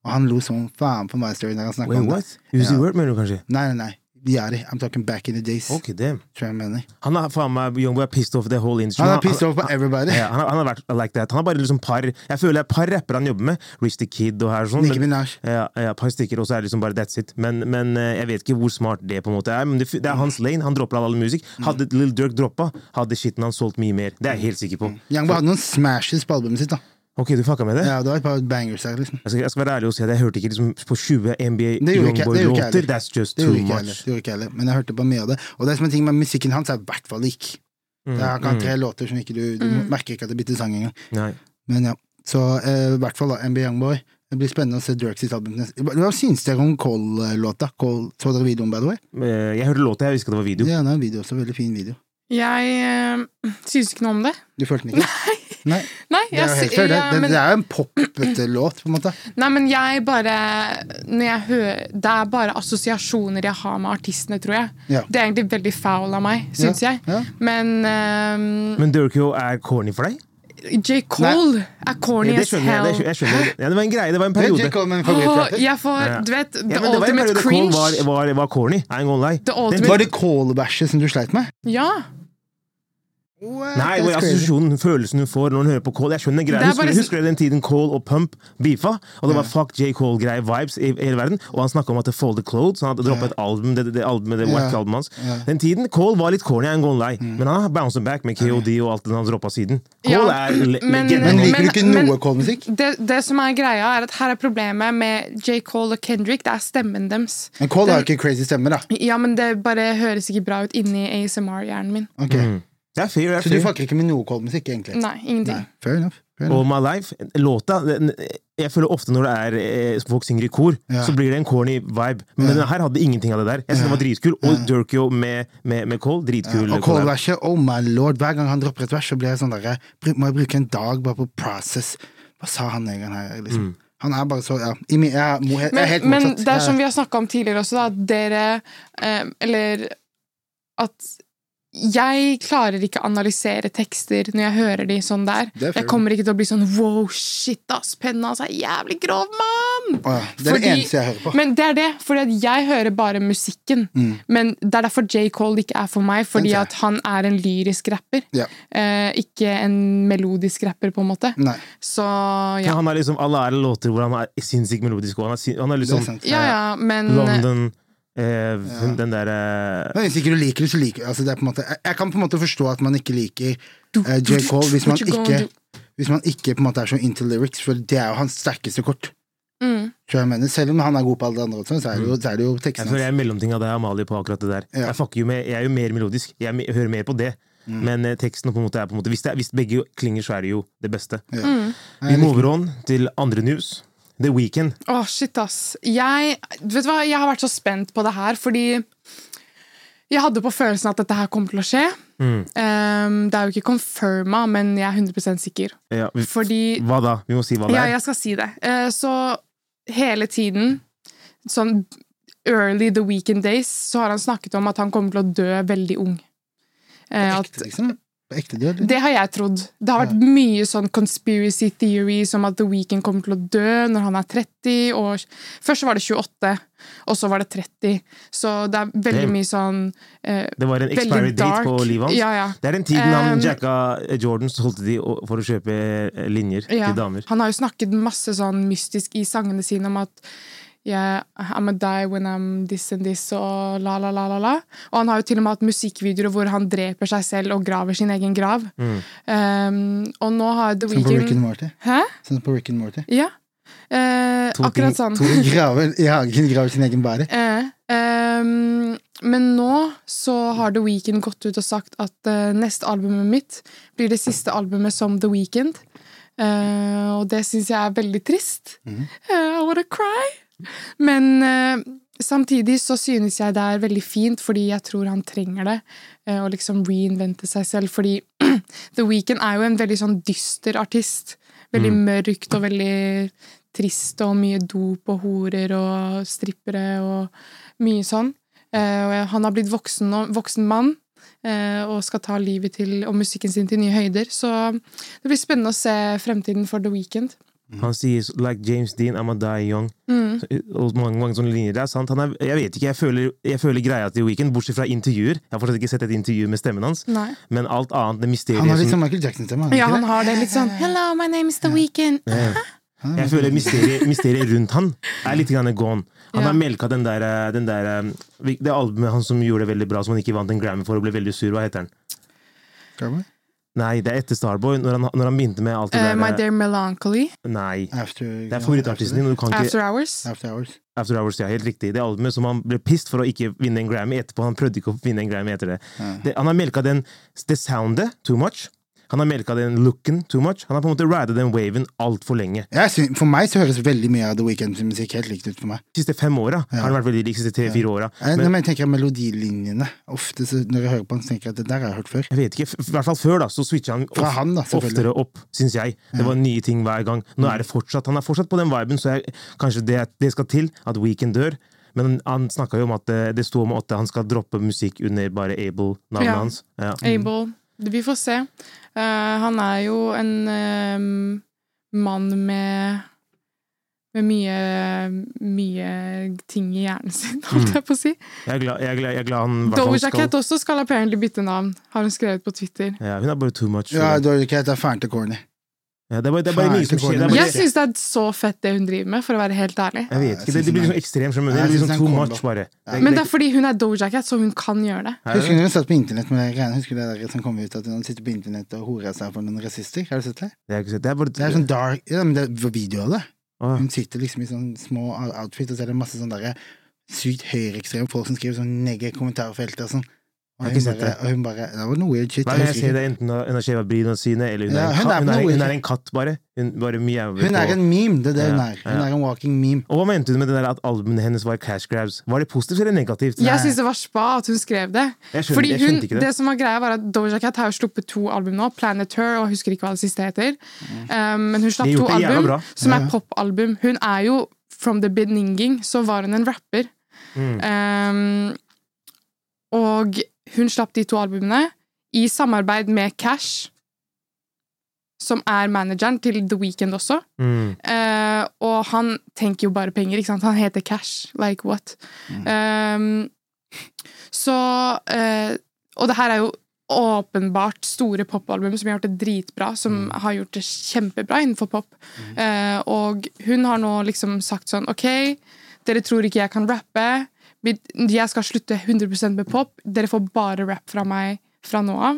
Og han lo som faen på My Story når han snakka Wait, om det. what? Uzi Ja. Word, mener du kanskje? Nei, nei, nei. Yari. I'm talking back in the days. Ok, damn. tror jeg han mener. Han er faen meg Youngboy er pissed off the whole industry. Han er pissed off på everybody. [laughs] Ja, han, har- han har vært like that. Han har bare liksom par Jeg føler det er par rappere han jobber med. Rich the Kid og her sånn. Nicki men- Minaj. Ja, ja, par stykker, og så er det liksom bare that's it. Men, men eh, jeg vet ikke hvor smart det på en måte er. Men det, f- det er hans lane. Han dropper all all musikk. Mm. Hadde Lil Durk droppa, hadde shitten han solgt mye mer. Det er jeg helt sikker på. Youngboy hadde noen smashes på albumet sitt. da Ok, du fucka med det? Mm. Ja, Det var et par bangers her. liksom Jeg skal, jeg skal være ærlig og si at jeg hørte ikke liksom på 20 NBA Det gjorde ikke- det gjorde ikke jeg Youngboy-låter. heller. That's just Det too gjorde ikke jeg heller, much. det gjorde ikke jeg heller. men jeg hørte på mye av det. Og det som er ting med musikken hans, er i hvert fall lik. Det er akkurat tre låter som ikke du, du Mm. merker ikke at det bytter sang engang. Mm, Nei. Men ja, Så eh, i hvert fall da, MB Youngboy. Det blir spennende å se Dirk sitt album. neste- Hva hva syns dere om Cole-låta? Cole, så dere videoen, by the way? Eh, Jeg hørte låta, jeg visste ikke at det var video. Ja, det er en video også, veldig fin video. Jeg eh, synes ikke noe om det. Du følte den ikke? Nei. Nei, Det er jo [laughs] jeg, helt fair, det. ja, Det, men, det er jo en poppete låt, på en måte. nei, men jeg bare når jeg hører, Det er bare assosiasjoner jeg har med artistene, tror jeg. Ja. Det er egentlig veldig foul av meg, syns Ja, jeg. ja. Men eh, Men Durkio er corny for deg? J. Cole er corny Ja, det as skjønner jeg. hell. Det, jeg skjønner. Ja, det var en greie, det var en Det er periode. J. Cole min Åh, favorittrapper. jeg får, Ja. du vet, the Ja, men det var en ultimate periode cringe. Cole var, var, var corny. I ain't gonna lie. The ultimate- Var det Cole-bæsjet som du sleit med? Ja. Nei, altså, det var assosiasjonen, følelsen hun får når hun hører på Cole. Jeg skjønner greia. Det er Husker, bare- husker du den tiden Cole og Pump beefa? Og det var fuck J. Cole-greie vibes i hele verden. Og han snakka om at det folded clothes. Han hadde droppa et album, det, det, det albumet, det Ja. Mm. whack albumet hans. Den tiden Cole var litt corny, I ain't gonna lie. Men han har bounced back med KOD og alt det han droppa siden. Cole Ja, er le men- legenden. Men liker du ikke Men- noe Cole-musikk? Det, det som er greia, er at her er problemet med J. Cole og Kendrick. Det er stemmen deres. Men Cole har jo ikke crazy stemme, da. Ja, men det bare høres ikke bra ut inni ASMR-hjernen min. Ok. Det er fair, Så du det er fair. fucker ikke med noe Cole-musikk, egentlig? Nei, ingenting. Fair enough. Fair enough. All My Life, låta den, Jeg føler ofte når det er eh, folk synger i kor, Ja. så blir det en corny vibe. Men denne her hadde ingenting av det der. Jeg synes den var dritkul. Og Durkio med, med, med Cole, dritkul. Og collab. Cole-verset, oh my lord, hver gang han dropper et vers, så blir jeg sånn derre Må jeg bruke en dag bare på process? Hva sa han en gang her, liksom? Han er bare så ja. I min, jeg, er- jeg, er helt Men, men motsatt. det er som jeg, vi har snakka om tidligere også, da, at dere eh, Eller at jeg klarer ikke å analysere tekster når jeg hører de sånn der. Det er fair. Jeg kommer ikke til å bli sånn wow, shit, ass, penna hans er jævlig grov, mann! Å ja, det er det Fordi- eneste jeg hører på. Men det er det, fordi at jeg hører bare musikken. Mm. Men det er derfor J. Cole ikke er for meg, fordi ser jeg. at han er en lyrisk rapper. Ja. Eh, ikke en melodisk rapper, på en måte. Nei, Så Ja, ja. han er liksom alle ære låter hvor han er sinnssykt melodisk, og han er, sin- han er det er liksom sant. Ja, ja, men London eh, Den derre eh, Men hvis ikke du liker det, så liker du altså, det. Er på en måte, jeg, jeg kan på en måte forstå at man ikke liker eh, J. Cole hvis man What you gonna ikke do? Hvis man ikke på en måte er så into lyrics, for det er jo hans sterkeste kort. Mm. Så jeg mener, selv om han er god på alle de andre, også, så er det jo, så er det jo Mm. Jeg tekstene føler jeg hans. er mellomtinga deg og Amalie på akkurat det der. Ja. Mm. Jeg, fucker jo med, jeg er jo mer melodisk. Jeg me- hører mer på det. Men eh, teksten på en måte er på en måte Hvis, det er, hvis begge klinger, så er det jo det beste. Ja. Mm. Vi må over on til andre news. The Weekend. Åh, shit, ass. Jeg, vet du hva, jeg har vært så spent på det her, fordi jeg hadde på følelsen at dette her kommer til å skje. Mm. Ehm, det er jo ikke confirma, men jeg er 100 sikker. Ja, vi, Fordi hva da? Vi må si hva det Ja, er. jeg skal si det. Eh, Så hele tiden, sånn early the weekend days, så har han snakket om at han kommer til å dø veldig ung. Eh, At Ekte, liksom. På ekte død. det har jeg trodd. Det har vært mye sånn conspiracy theories om at The Weeknd kommer til å dø når han er 30 år. Først så var det 28, og så var det 30. Så det er veldig Damn. mye sånn eh, Det var en expiry Veldig date dark. på livet hans. Ja, ja. Det er den tiden han Um, jacka eh, Jordan, så holdt de å- for å kjøpe eh, linjer ja. til damer. Han har jo snakket masse sånn mystisk i sangene sine om at Yeah, I'm a die when I'm this and this og la, la, la, la, la. Og han har jo til og med hatt musikkvideoer hvor han dreper seg selv og graver sin egen grav. Mm. Um, og nå har The Sånn på Rick and Weeknd Morty. Hæ? Sånn på Rick and Morty. Ja. Eh, To akkurat ting- sånn. to- Graver i hagen, graver sin egen bære. Eh, ehm, men nå så har The Weeknd gått ut og sagt at eh, neste albumet mitt blir det siste albumet som The Weeknd. Eh, og det syns jeg er veldig trist. Mhm. Eh, I wanna cry. Men eh, samtidig så synes jeg det er veldig fint, fordi jeg tror han trenger det. eh, Å liksom reinvente seg selv. Fordi [clears throat] The Weeknd er jo en veldig sånn dyster artist. Veldig mørkt og veldig trist og mye dop og horer og strippere og mye sånn. Eh, og jeg- han har blitt voksen, nå- voksen mann. eh, Og skal ta livet til, og musikken sin til nye høyder. Så det blir spennende å se fremtiden for The Weeknd. Han sier like James Dean, I'm a die young. Mm. Så, eh, og mange, mange sånne linjer. Det er sant. Han er, jeg vet ikke, jeg føler, jeg føler greia til Weekend, bortsett fra intervjuer. Jeg har fortsatt ikke sett et intervju med stemmen hans. Nei. Men alt annet, det mysteriet Han har som- litt sånn Michael Jackson-stemme. Ja, han har det litt sånn Hello, my name is The Weeknd. Jeg føler mysteriet, mysteriet rundt han er litt grann gone. Han Ja. har melka den der, den der eh, Det albumet han som gjorde det veldig bra, som han ikke vant en Grammy for og ble veldig sur. Hva heter han? Graver? Nei, det er etter Starboy, når han, når han begynte med alt det Eh, my der eh, Dear Melancholy. Nei. After, Det er favorittartisten din, og du kan ikke After Hours. After Hours. After Hours, ja, helt riktig. Det albumet som han ble pissed for å ikke vinne en Grammy etterpå. Han prøvde ikke å vinne en Grammy etter det. det han har melka den det soundet too much. Han har melka den looken too much. Han har på en måte rida den waven altfor lenge. Jeg syn- for meg så høres veldig mye av The Weeknds musikk helt likt ut for meg. De siste fem åra har han vært veldig lik, de siste tre-fire åra. Jeg, Men- når jeg tenker melodilinjene, ofte så når jeg hører på han, så tenker jeg at det der har jeg hørt før. Jeg vet ikke, f- i hvert fall før da, så switcha han, Fra of- han da, selvfølgelig. oftere opp, syns jeg. Det var nye ting hver gang. Nå Mm. er det fortsatt, Han er fortsatt på den viben, så jeg, kanskje det, det skal til at Weekend dør. Men han snakka jo om at eh, det sto om at han skal droppe musikk under bare Able-navnet Ja. hans. Ja. Abel. Vi får se. Eh, han er jo en eh, mann med med mye, mye ting i hjernen sin, [laughs] holdt jeg på å si. Jeg, Mm. er glad, jeg, er glad, jeg er glad han i hvert fall Doja skal- Cat også skal apparently bytte navn, har hun skrevet på Twitter. ja, Hun er bare too much. Ja, for det. Dory Cat er fælt til corny. Ja, det er bare, det er bare Faen, mye som det går skjer. Det ned. er bare, Jeg syns det er så fett det hun driver med, for å være helt ærlig. jeg vet Jeg ikke, det, det blir synes sånn ekstremt. skjønner du? Det Jeg blir synes sånn den too kom much, da. bare. Det- Men det- det er fordi hun er Doja Cat, så hun kan gjøre det. er det Husker du når hun satt på internett med de greiene? Husker du det der som kom ut at hun sitter på internett og horer seg for noen rasister? Har du sett det? det er ikke- det er bare Det er sånn dark Ja, men det er video av det. Åh. Hun sitter liksom i sånn små outfit, og så er det masse sånn derre sykt høyreekstreme folk som skriver sånn negge kommentarfelt og sånn. Og har hun ikke sett bare, det. og hun bare Det var noe weird shit. Nei, jeg jeg husker ser ikke. det enten hun har skjeva bryna sine, eller hun Ja, er en hun katt. er på Hun er, noe hun weird. er en katt, bare. Hun bare mjauer Hun er på- en meme, det er det hun Ja, er. Hun ja. er en walking meme. Og hva mente du med det der at albumet hennes var cash grabs? Var det positivt eller negativt? Jeg syns det var spa at hun skrev det. Jeg skjønner- Fordi jeg hun, skjønte ikke det. som var greia var at Doja Cat har jo sluppet to album nå. Planet Her og jeg husker ikke hva det siste heter. Um, men hun slapp De har to gjort Mm. det jævla album bra. som er popalbum. Hun er jo from the beginning, så var hun en rapper. Mm, Um, og hun slapp de to albumene i samarbeid med Cash, som er manageren til The Weeknd også. Mm. Eh, og han tenker jo bare penger, ikke sant? Han heter Cash. Like what? Mm. Ehm, så eh, Og det her er jo åpenbart store popalbum som har gjort det dritbra, som Mm. har gjort det kjempebra innenfor pop. Eh, og hun har nå liksom sagt sånn OK, dere tror ikke jeg kan rappe. Vi- Jeg skal slutte 100 med pop. Dere får bare rap fra meg fra nå av.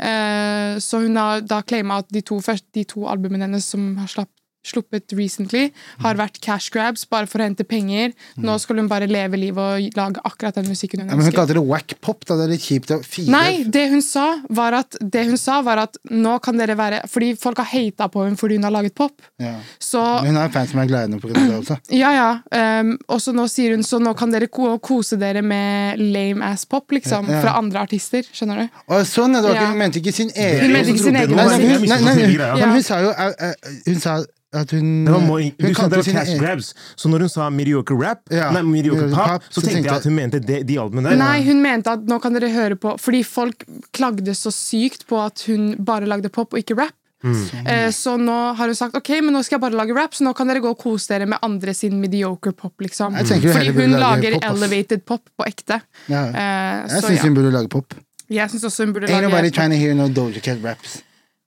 Eh, så hun har da claima at de to, først, de to albumene hennes som har slapp, sluppet recently, Mm. har vært cash grabs bare for å hente penger. Nå skal hun bare leve livet og lage akkurat den musikken hun Ja, men hun elsker. kalte det wack pop, da. Det er litt kjipt. å- Fire Nei, det hun sa var at, det hun sa var at nå kan dere være Fordi folk har hata på henne fordi hun har laget pop. ja. Så Men Hun er en fan som er glad i henne pga. det også. ja, ja. ehm, og så nå sier hun så nå kan dere ko kose dere med lame ass pop, liksom. Ja, ja. Fra andre artister. Skjønner du? Og sånn, det var ikke, Ja. Hun mente ikke sin egen Hun mente ikke sin Jeg egen trodde- musikk. Nei, nei, nei, nei, nei. Ja, Ja. Men hun sa jo eh, eh, Hun sa at hun Det var more, Hun du sa det kalte var sin cash egen grabs, så når hun sa mediocre rap, Ja, nei, mediocre mediocre pop, så tenkte jeg at hun mente de, de albumene der. Nei, hun mente at nå kan dere høre på Fordi folk klagde så sykt på at hun bare lagde pop og ikke rap. Mm. Eh, så nå har hun sagt ok, men nå skal jeg bare lage rap, så nå kan dere gå og kose dere med andre sin mediocre pop. liksom Jeg tenker hun Fordi heller burde lage hun lager pop, ass. elevated pop på ekte. ja. Eh, Jeg så syns ja. hun burde lage pop. Jeg syns også hun burde Ain't nobody lage trying to hear no Doja Cat raps.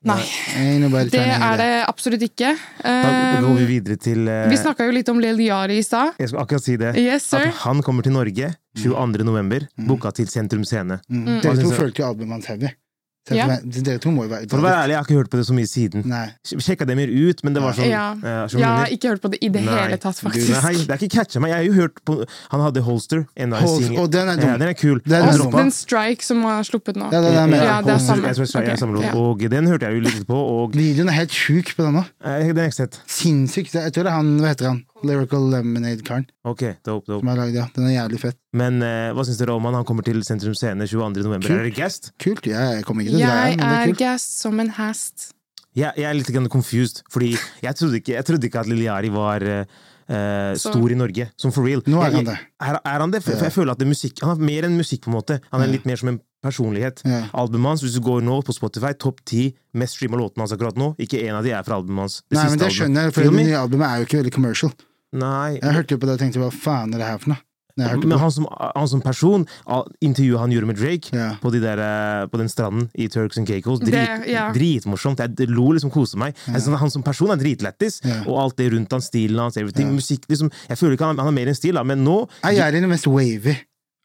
Nei, Ain't nobody det trying to hear er that. det absolutt ikke. Da går vi Eh, videre til eh, vi snakka jo litt om Lil Yari i stad. Jeg skal akkurat si det. Yes, sir. At han kommer til Norge 22. november, booka til Sentrum Scene. Mm. Mm. Dere Hva to syns du? følte jo albumet hans heavy. Så Ja. for meg- Dere to må jo være For å være ærlig, jeg har ikke hørt på det så mye siden. Nei. Sjekka det mer ut, men det var sånn Ja. eh, som Jeg har minner. ikke hørt på det i det Nei, hele tatt, du- faktisk. Nei, det er ikke catcha meg. Jeg har jo hørt på Han hadde Holster. En av Holst- singel- og den er dum. Ja, den er kul. Den er Han dum. Og droppa. den Strike som har sluppet nå. Det er det jeg mener. Ja, det er Holster, samme. Jeg tror jeg, jeg, Ok, samler opp. ja. Og den hørte jeg jo litt på, og Videoen er helt sjuk på den nå. eh, Den har jeg ikke sett. Sinnssykt. Det- Jeg tror det er han, hva heter han? Lyrical Lemonade-karen Ok, dope, dope. som har lagd det. Den er jævlig fett. Men eh, hva syns dere om han? Han kommer til Sentrum Scene 22. november. Kult. Er det gassed? Kult. Jeg jeg kommer ikke til å dra, men Jeg det er er kult. gassed som en hest. Jeg, jeg er litt grann confused, fordi jeg trodde ikke, jeg trodde ikke at Liliari var eh, eh, Så- stor i Norge. Som for real. Nå er Jeg- han det. Er, er han det? For, for Ja. jeg føler at det er musikk, han er mer enn musikk, på en måte. Han er litt mer som en personlighet. Ja. Albumet hans, hvis du går nå på Spotify, topp ti mest streama låtene hans akkurat nå, ikke én av de er fra albumet hans. Nei, men det skjønner jeg, for det Feel me? nye albumet er jo ikke veldig commercial. Nei, Jeg hørte jo på det og tenkte hva faen er det her for noe? Når jeg hørte Men på. han som, han som person, al- intervjuet han gjorde med Drake Ja. på, de der, eh, på den stranden i Turks and Caicos, drit, Det- ja. dritmorsomt. Jeg d- lo liksom koste meg. Jeg synes at han som person er dritlættis, Ja. og alt det rundt han, stilen hans, everything, musikk liksom, Jeg føler ikke han, han har mer enn stil, da, men nå Er Jari den mest wavy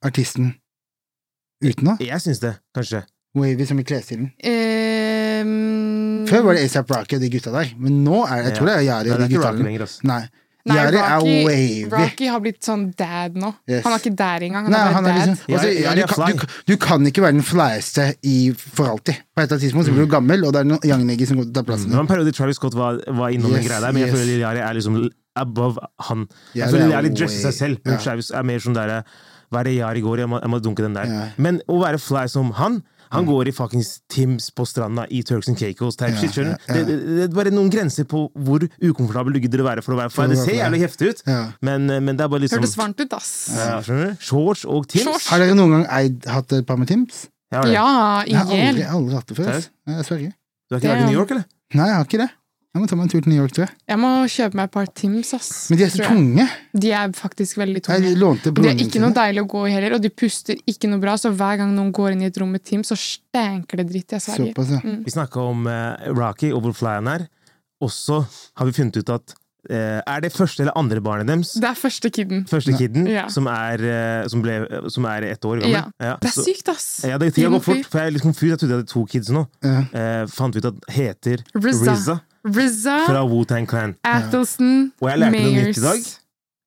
artisten utenå? Jeg syns det, kanskje. Wavy som i klesstilen. Ehm, Før var det ASAP Rocky og de gutta der, men nå er det, jeg tror det er Jari Nei, det og de er ikke gutta rock der. lenger, ass. Nei. nei, Jari er Rocky- wavy. Rocky har blitt sånn dad nå. Yes. Han er ikke dad engang. Han Nei, er bare han er dad. liksom, altså, Jari- ja, Jari du, er kan, du, fly. kan- du kan ikke være den flyeste i, for alltid. På et eller annet tidspunkt så blir Mm. du gammel, og det er noen young nigger som går til å ta plassen Det din. var en periode Travis Scott var, var innom Yes, en greie der, men jeg yes. føler Liliari er liksom above han. Jeg Lil føler Yachty er Liliari dresser way- seg selv. Ja. Men Travis er mer sånn derre Hva er det jeg har i går? Jeg må, jeg må dunke den der. Ja. Men å være fly som han han går i fuckings Tims på stranda i Turks and Caicos. Type Ja, shit, skjønner du? ja, ja. Det, det, det er bare noen grenser på hvor ukomfortabel du gidder å være for å være fly. å Det være ser fly. jævlig heftig ut, Ja. men, men det er bare liksom Hørtes varmt ut, ass. ja, skjønner du? Shorts og Tims. Shorts. Har dere noen gang eid, hatt et par med Tims? Ja, vel. Ja, i Jeg har aldri, hjel. aldri hatt det før. ass. Jeg sverger. Du har ikke vært i Damn. New York, eller? Nei, jeg har ikke det. Jeg må ta meg en tur til New York, tror jeg. Jeg må kjøpe meg et par Tims, ass. Men de er så tror jeg. tunge. De er faktisk veldig tunge. Jeg lånte Og de broren er min ikke sine. noe deilig å gå i heller, og de puster ikke noe bra, så hver gang noen går inn i et rom med Teams, så stenker det dritt. Jeg sverger. Såpass, ja. Vi snakka om eh, Rocky og hvor fly han er. Og så har vi funnet ut at eh, Er det første eller andre barnet deres? Det er første kiden. Første kiden, Ja. som, er, eh, som, ble, som er ett år Ja. gammel. Ja, Det er så- sykt, ass! Ja, det tida går Tiden fort, flyr. for jeg er litt confused. Jeg trodde jeg hadde to kids nå. Ja. Eh, fant ut at heter RZA. RZA RZA, fra Wu-Tang Clan. Athelston, Og jeg lærte noe nytt i Mayers. dag.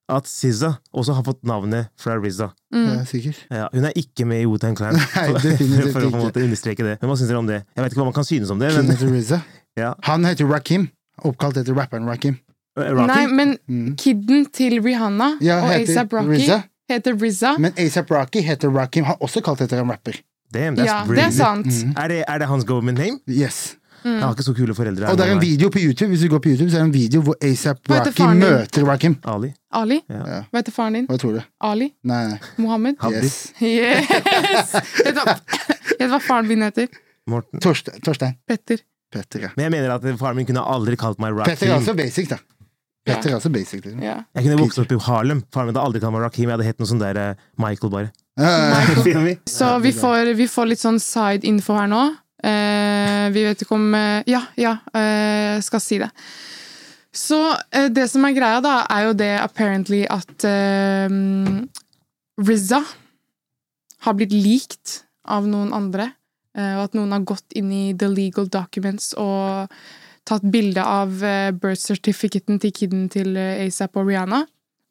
at SZA også har fått navnet fra RZA. Mm. Det er sikkert. Ja, hun er ikke med i Wu-Tang [laughs] Clan, for, [laughs] definitivt for å på en ikke. måte understreke det. Men hva syns dere om det? Jeg vet ikke hva man kan synes om det, Kid men heter RZA. ja. Eh, Han heter Rakim. Oppkalt etter rapperen Rakim. Rocky? Nei, men Mm. kidden til Rihanna Ja, og heter ASAP Rocky RZA. heter RZA. Men ASAP Rocky heter Rakim. Han er også kalt etter en rapper. Damn, that's Ja, det really- er sant. Mm. Er det, er det hans government name? Yes. Jeg har ikke så kule foreldre. Og det er en Nei. video på YouTube Hvis du går på YouTube, så er det en video hvor ASAP Hva heter Rocky faren din? møter Rakim. Ali. Ali. Ja. Hva heter faren din? Hva tror du? Ali? Nei, nei. Mohammed? Abdi. Yes. Yes! [laughs] Vet du hva- vet du hva faren min heter? Morten. Torstein. Torstein. Petter. Petter, ja. Men jeg mener at faren min kunne aldri kalt meg Petter er Rakim. også basic, da. Petter er også basic. Liksom. Ja. Jeg kunne vokst opp i Harlem. Faren min hadde aldri kalt meg Rakim. Jeg hadde hett noe sånn der eh, Michael, bare. Ja, Michael. Skjønner vi? Så vi får, vi får litt sånn side-info her nå. Eh, vi vet ikke om eh, Ja, ja, eh, jeg skal si det. Så eh, det som er greia, da, er jo det apparently at eh, Rizza har blitt likt av noen andre. eh, og at noen har gått inn i the legal documents og tatt bilde av eh, birth certificaten til kiden til eh, ASAP og Rihanna.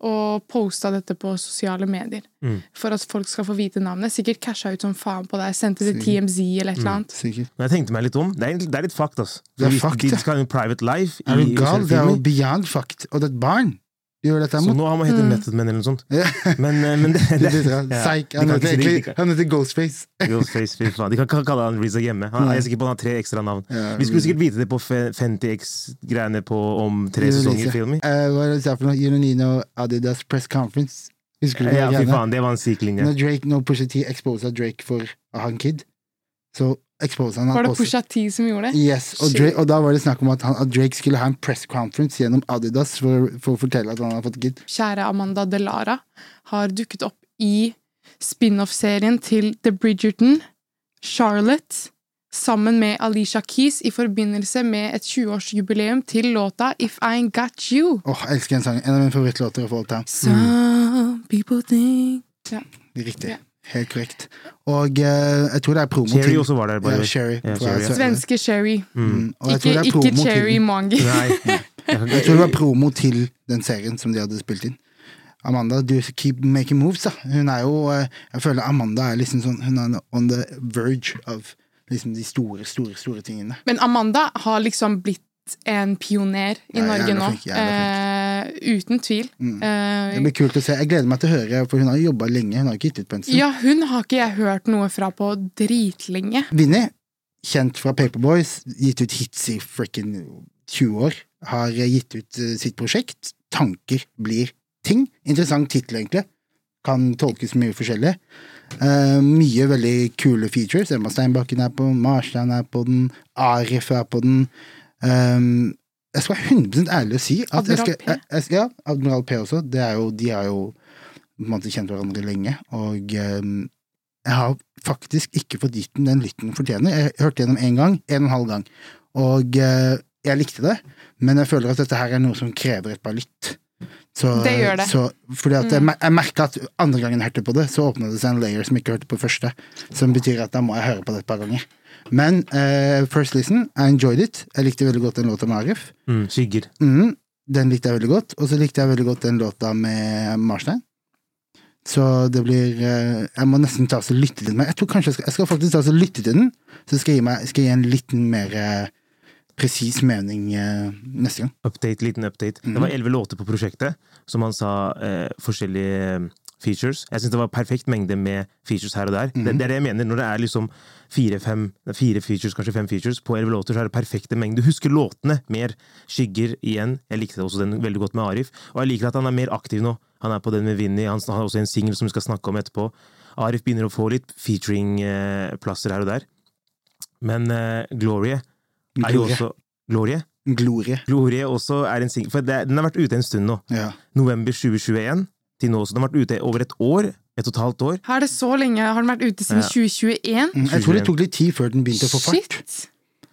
Og posta dette på sosiale medier Mm. for at folk skal få vite navnet. Sikkert casha ut som faen på deg. Sendte til Sikkert. TMZ eller et eller annet. Sikkert. Men jeg tenkte meg litt om. Det er, egentlig- det er litt fucked, ass. Det er Hvis fucked, de ja. skal ha en private life Er du i gal? Det er jo filmer, beyond fucked. Og det er et barn du gjør dette så mot. nå har man hett Method Man eller noe sånt. [laughs] Men, eh, [laughs] men det, Det det, er litt rart. ja. Psych. De Han kan heter ikke si det, de egentlig- kan- han heter Ghostface. Ghostface, fy faen. De kan ikke kalle han Rizza hjemme. Han, jeg er sikker på han har tre ekstra navn. Ja, Vi skulle Rizza. sikkert vite det på fe- 50X-greiene på om tre Rizza. sesonger filmer. Eh, Hva er det sa for noe? You don't need no Adidas press conference. Husker du det? Ja, fy greiene? faen, det var en syk linje. Når Drake, når Pusha T exposa Drake for han kid, så exposa han Var han det også. Pusha T som gjorde det? Yes, og, Drake, og da var det snakk om at, han, at Drake skulle ha en press conference gjennom Adidas for, for å fortelle at han hadde fått kid. Kjære Amanda Delara har dukket opp i spin-off-serien til The Bridgerton, Charlotte, sammen med Alicia Keys i forbindelse med et 20-årsjubileum til låta If I Ain't Got You. Åh, jeg elsker den sangen. En av mine favorittlåter of all time. Some people think Riktig. Ja. Helt korrekt. Og eh, jeg tror det er promo Cherry til også var der, by the Ja, way. Sherry. Ja, tror jeg. Sherry, ja. Svenske Sherry. Mm, og jeg tror Ikke, det er ikke promo Cherry til, Mangi. Nei. [laughs] jeg tror det var promo til den serien som de hadde spilt inn. Amanda, du keep making moves, da. Hun er jo eh, Jeg føler Amanda er liksom sånn Hun er on the verge of liksom de store, store, store tingene. [laughs] Men Amanda har liksom blitt en pioner i Ja, Norge jævla nå. flink, jævla Eh, uten tvil. Eh, Det blir kult å se. Jeg gleder meg til å høre, for hun har jobba lenge. Hun har ikke gitt ut pensel. ja, hun har ikke jeg hørt noe fra på dritlenge. Vinni, kjent fra Paperboys, gitt ut hits i frikken 20 år, har gitt ut eh, sitt prosjekt. Tanker blir ting. Interessant tittel, egentlig. Kan tolkes mye forskjellig. Eh, mye veldig kule features. Emma Steinbakken er på den, Marstein er på den, Arif er på den. Eh, jeg skal være 100 ærlig og si at jeg skal, Admiral P. jeg, jeg, Ja, Admiral P også. Det er jo, de har jo på en måte kjent hverandre lenge, og eh, jeg har faktisk ikke fått gitt den den lytten den fortjener. Jeg hørte gjennom én gang, en og en halv gang, og eh, jeg likte det, men jeg føler at dette her er noe som krever et par lytt. Så, Det gjør det. Mm. Så, fordi at jeg, mer- jeg merka at andre gangen jeg hørte på det, så åpna det seg en layer som jeg ikke hørte på første, som betyr at da må jeg høre på det et par ganger. Men eh, first listen, I enjoyed it. Jeg likte veldig godt den låta med Arif. Mm, skygger. Mhm, den likte jeg veldig godt. Og så likte jeg veldig godt den låta med Marstein. Så det blir eh, Jeg må nesten ta og lytte til den. Men jeg tror kanskje jeg skal, jeg skal faktisk ta og lytte til den, så skal jeg gi, meg, skal jeg gi en liten mer eh, presis mening eh, neste gang. Update, liten update. Det var elleve låter på prosjektet, som han sa eh, forskjellige eh, features. Jeg syns det var perfekt mengde med features her og der. det, det er det jeg mener. Når det er liksom fire, fem, det er fire features, kanskje fem features, på elleve låter, så er det perfekte mengde. Du husker låtene mer. Skygger igjen. Jeg likte også den veldig godt med Arif. Og jeg liker at han er mer aktiv nå. Han er på den med Vinni. Han har også en singel som vi skal snakke om etterpå. Arif begynner å få litt featuring-plasser her og der. Men eh, Glorie er jo Glorie. også Glorie? Glorie. Glorie også er en singel, for det, den har vært ute en stund nå. Ja. November 2021 til nå, så den har vært ute over et år. Et og et halvt år. Har det så lenge? Har den vært ute siden Ja. 2021? Mm, Jeg tror det tok litt tid før den begynte å få fart. Shit!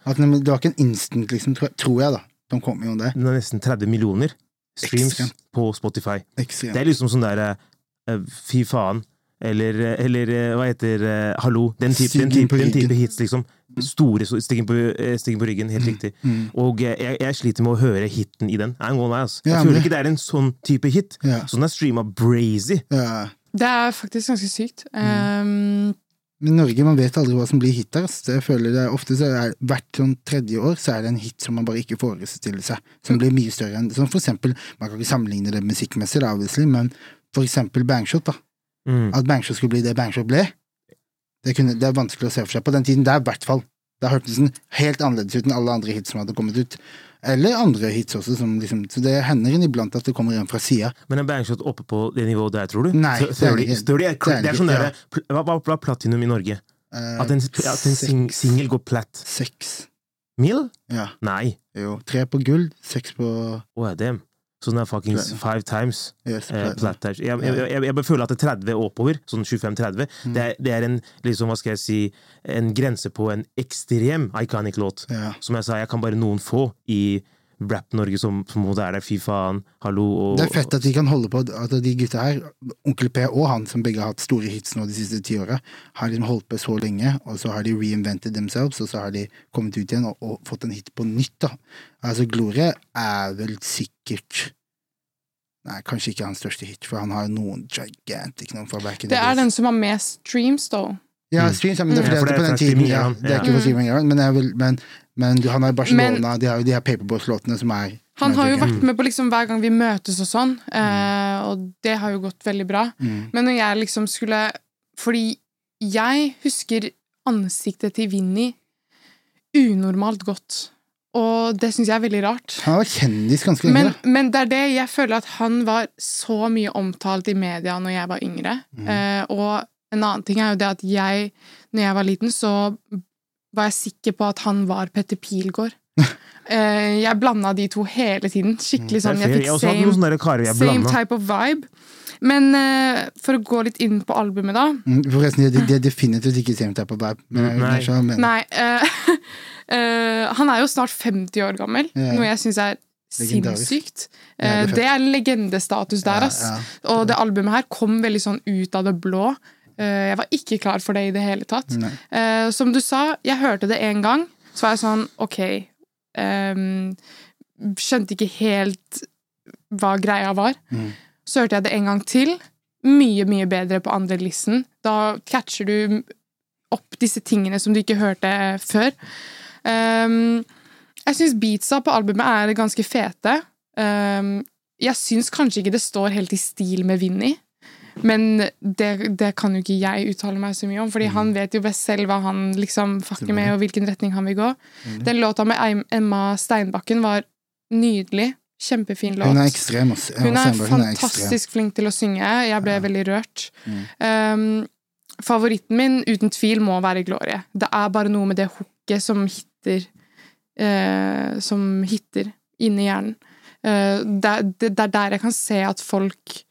At den, det var ikke en instant, liksom, tror, jeg- tror jeg, da. De kom jo der. Den har nesten 30 millioner streams Ekstremt. på Spotify. Det Ekstremt. er liksom sånn der eh, fy faen, eller, eller eh, hva heter eh, hallo. Den type, den Suging på type, den type ryggen. Mm. hits, liksom. Store so- stikken på, eh, stikken på ryggen, helt riktig. Og eh, jeg, jeg sliter med å høre hiten i den. I'm gonna lie, ass. Jeg Ja, men føler det- ikke det er en sånn type hit. Ja. Så den er streama brazy. Ja. Det er faktisk ganske sykt. Mm. Um, Men Norge, man vet aldri hva som blir hit der. ass. Jeg føler det er ofte så er det Hvert sånn tredje år så er det en hit som man bare ikke forestiller seg, som blir mye større enn som for eksempel, Man kan ikke sammenligne det musikkmessig, da, obviously, men for eksempel Bangshot. da. Mm. At Bangshot skulle bli det Bangshot ble, det, kunne, det er vanskelig å se for seg på den tiden der, i hvert fall. Da hørtes den helt annerledes ut enn alle andre hits som hadde kommet ut. Eller andre hits også, som liksom, så det hender iblant at det kommer en fra sida. Men en bangshot oppe på det nivået der, tror du? Nei, Th- det er Thirty- ikke- Thirty er, det er det er sånn ikke, der, pl- Hva hva- hva er platinum i Norge? Eh, At en, at en sing, seks. singel går platt. Seks. Mill? Ja. Nei. Jo. Tre på gull, seks på Oh, damn. Så den er fuckings Platinum. five times. yes, Eh, platinum. platt touch. Jeg, jeg, jeg, jeg bare føler at det er 30 oppover, sånn 25-30, Mm. det, er- det er en liksom, hva skal jeg si, en grense på en ekstrem iconic låt. Ja. Som jeg sa, jeg kan bare noen få i Rap-Norge som på en måte er der, fy faen, hallo og Det er fett at de kan holde på at de gutta her, Onkel P og han som begge har hatt store hits nå de siste ti åra, har liksom holdt på så lenge, og så har de reinvented themselves, og så har de kommet ut igjen og, og fått en hit på nytt, da. Altså, Glorie er vel sikkert Nei, kanskje ikke hans største hit, for han har noen gigantic noen fra back in the det er days. den som har mest streams, though. Ja, streams, ja, men det er Mm. Ja, for fordi at det er på den fra tiden streaming, ja, ja. Det er ikke Mm. på streaming, ja, men, jeg vil, men, men du- han er i Barcelona, de har jo de her Paperboys-låtene som er Han har jo som er- vært med på liksom hver gang vi møtes og sånn, eh, og det har jo gått veldig bra. Mm. Men når jeg liksom skulle Fordi jeg husker ansiktet til Vinni unormalt godt. Og det syns jeg er veldig rart. Han har vært kjendis ganske lenge, Men, da. men det er det jeg føler at han var så mye omtalt i media når jeg var yngre. Mhm. Eh, og en annen ting er jo det at jeg, når jeg var liten, så var jeg sikker på at han var [laughs] Petter Pilgaard. eh, jeg blanda de to hele tiden. Mhm. Skikkelig sånn. Jeg fair. fikk har også hatt noen same, sånne der karer jeg same blanda. type of vibe. Men eh, for å gå litt inn på albumet, da. Mm, Forresten, det, det er definitivt ikke same type of vibe. Men jeg, Nei. jeg skjønner hva du mener. Nei. eh, [laughs] eh, han er jo snart 50 år gammel, Ja. noe jeg syns er Legendarisk. sinnssykt. Ja, det Eh, er fett. det er legendestatus der, ass. Ja, ja. Og det albumet her kom veldig sånn ut av det blå. Eh, Jeg var ikke klar for det i det hele tatt. Nei. Eh, Som du sa, jeg hørte det én gang, så var jeg sånn OK ehm, Skjønte ikke helt hva greia var. Mm. Så hørte jeg det en gang til. Mye, mye bedre på andre listen. Da catcher du opp disse tingene som du ikke hørte før. Ehm, jeg syns beatsa på albumet er ganske fete. Ehm, jeg syns kanskje ikke det står helt i stil med Vinni, men det, det kan jo ikke jeg uttale meg så mye om, fordi han vet jo best selv hva han liksom fucker med, og hvilken retning han vil gå. Den låta med Eim- Emma Steinbakken var nydelig. Kjempefin låt. Hun er ekstrem, ass. Emma Hun er Steinberg, hun er ekstrem. Mm. fantastisk flink til å synge. Jeg ble veldig rørt. Um, favoritten min uten tvil må være Glorie. Det er bare noe med det hooket som hitter eh, Som hitter inni hjernen. Eh, det, er- det, det er der jeg kan se at folk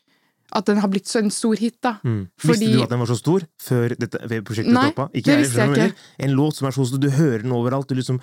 At den har blitt så en stor hit, da. Mm. Fordi- Visste du at den var så stor før dette, ved prosjektet Nei, toppa? det visste jeg skjønner du hva ikke. mener? En låt som er så stor, du hører den overalt. Du liksom,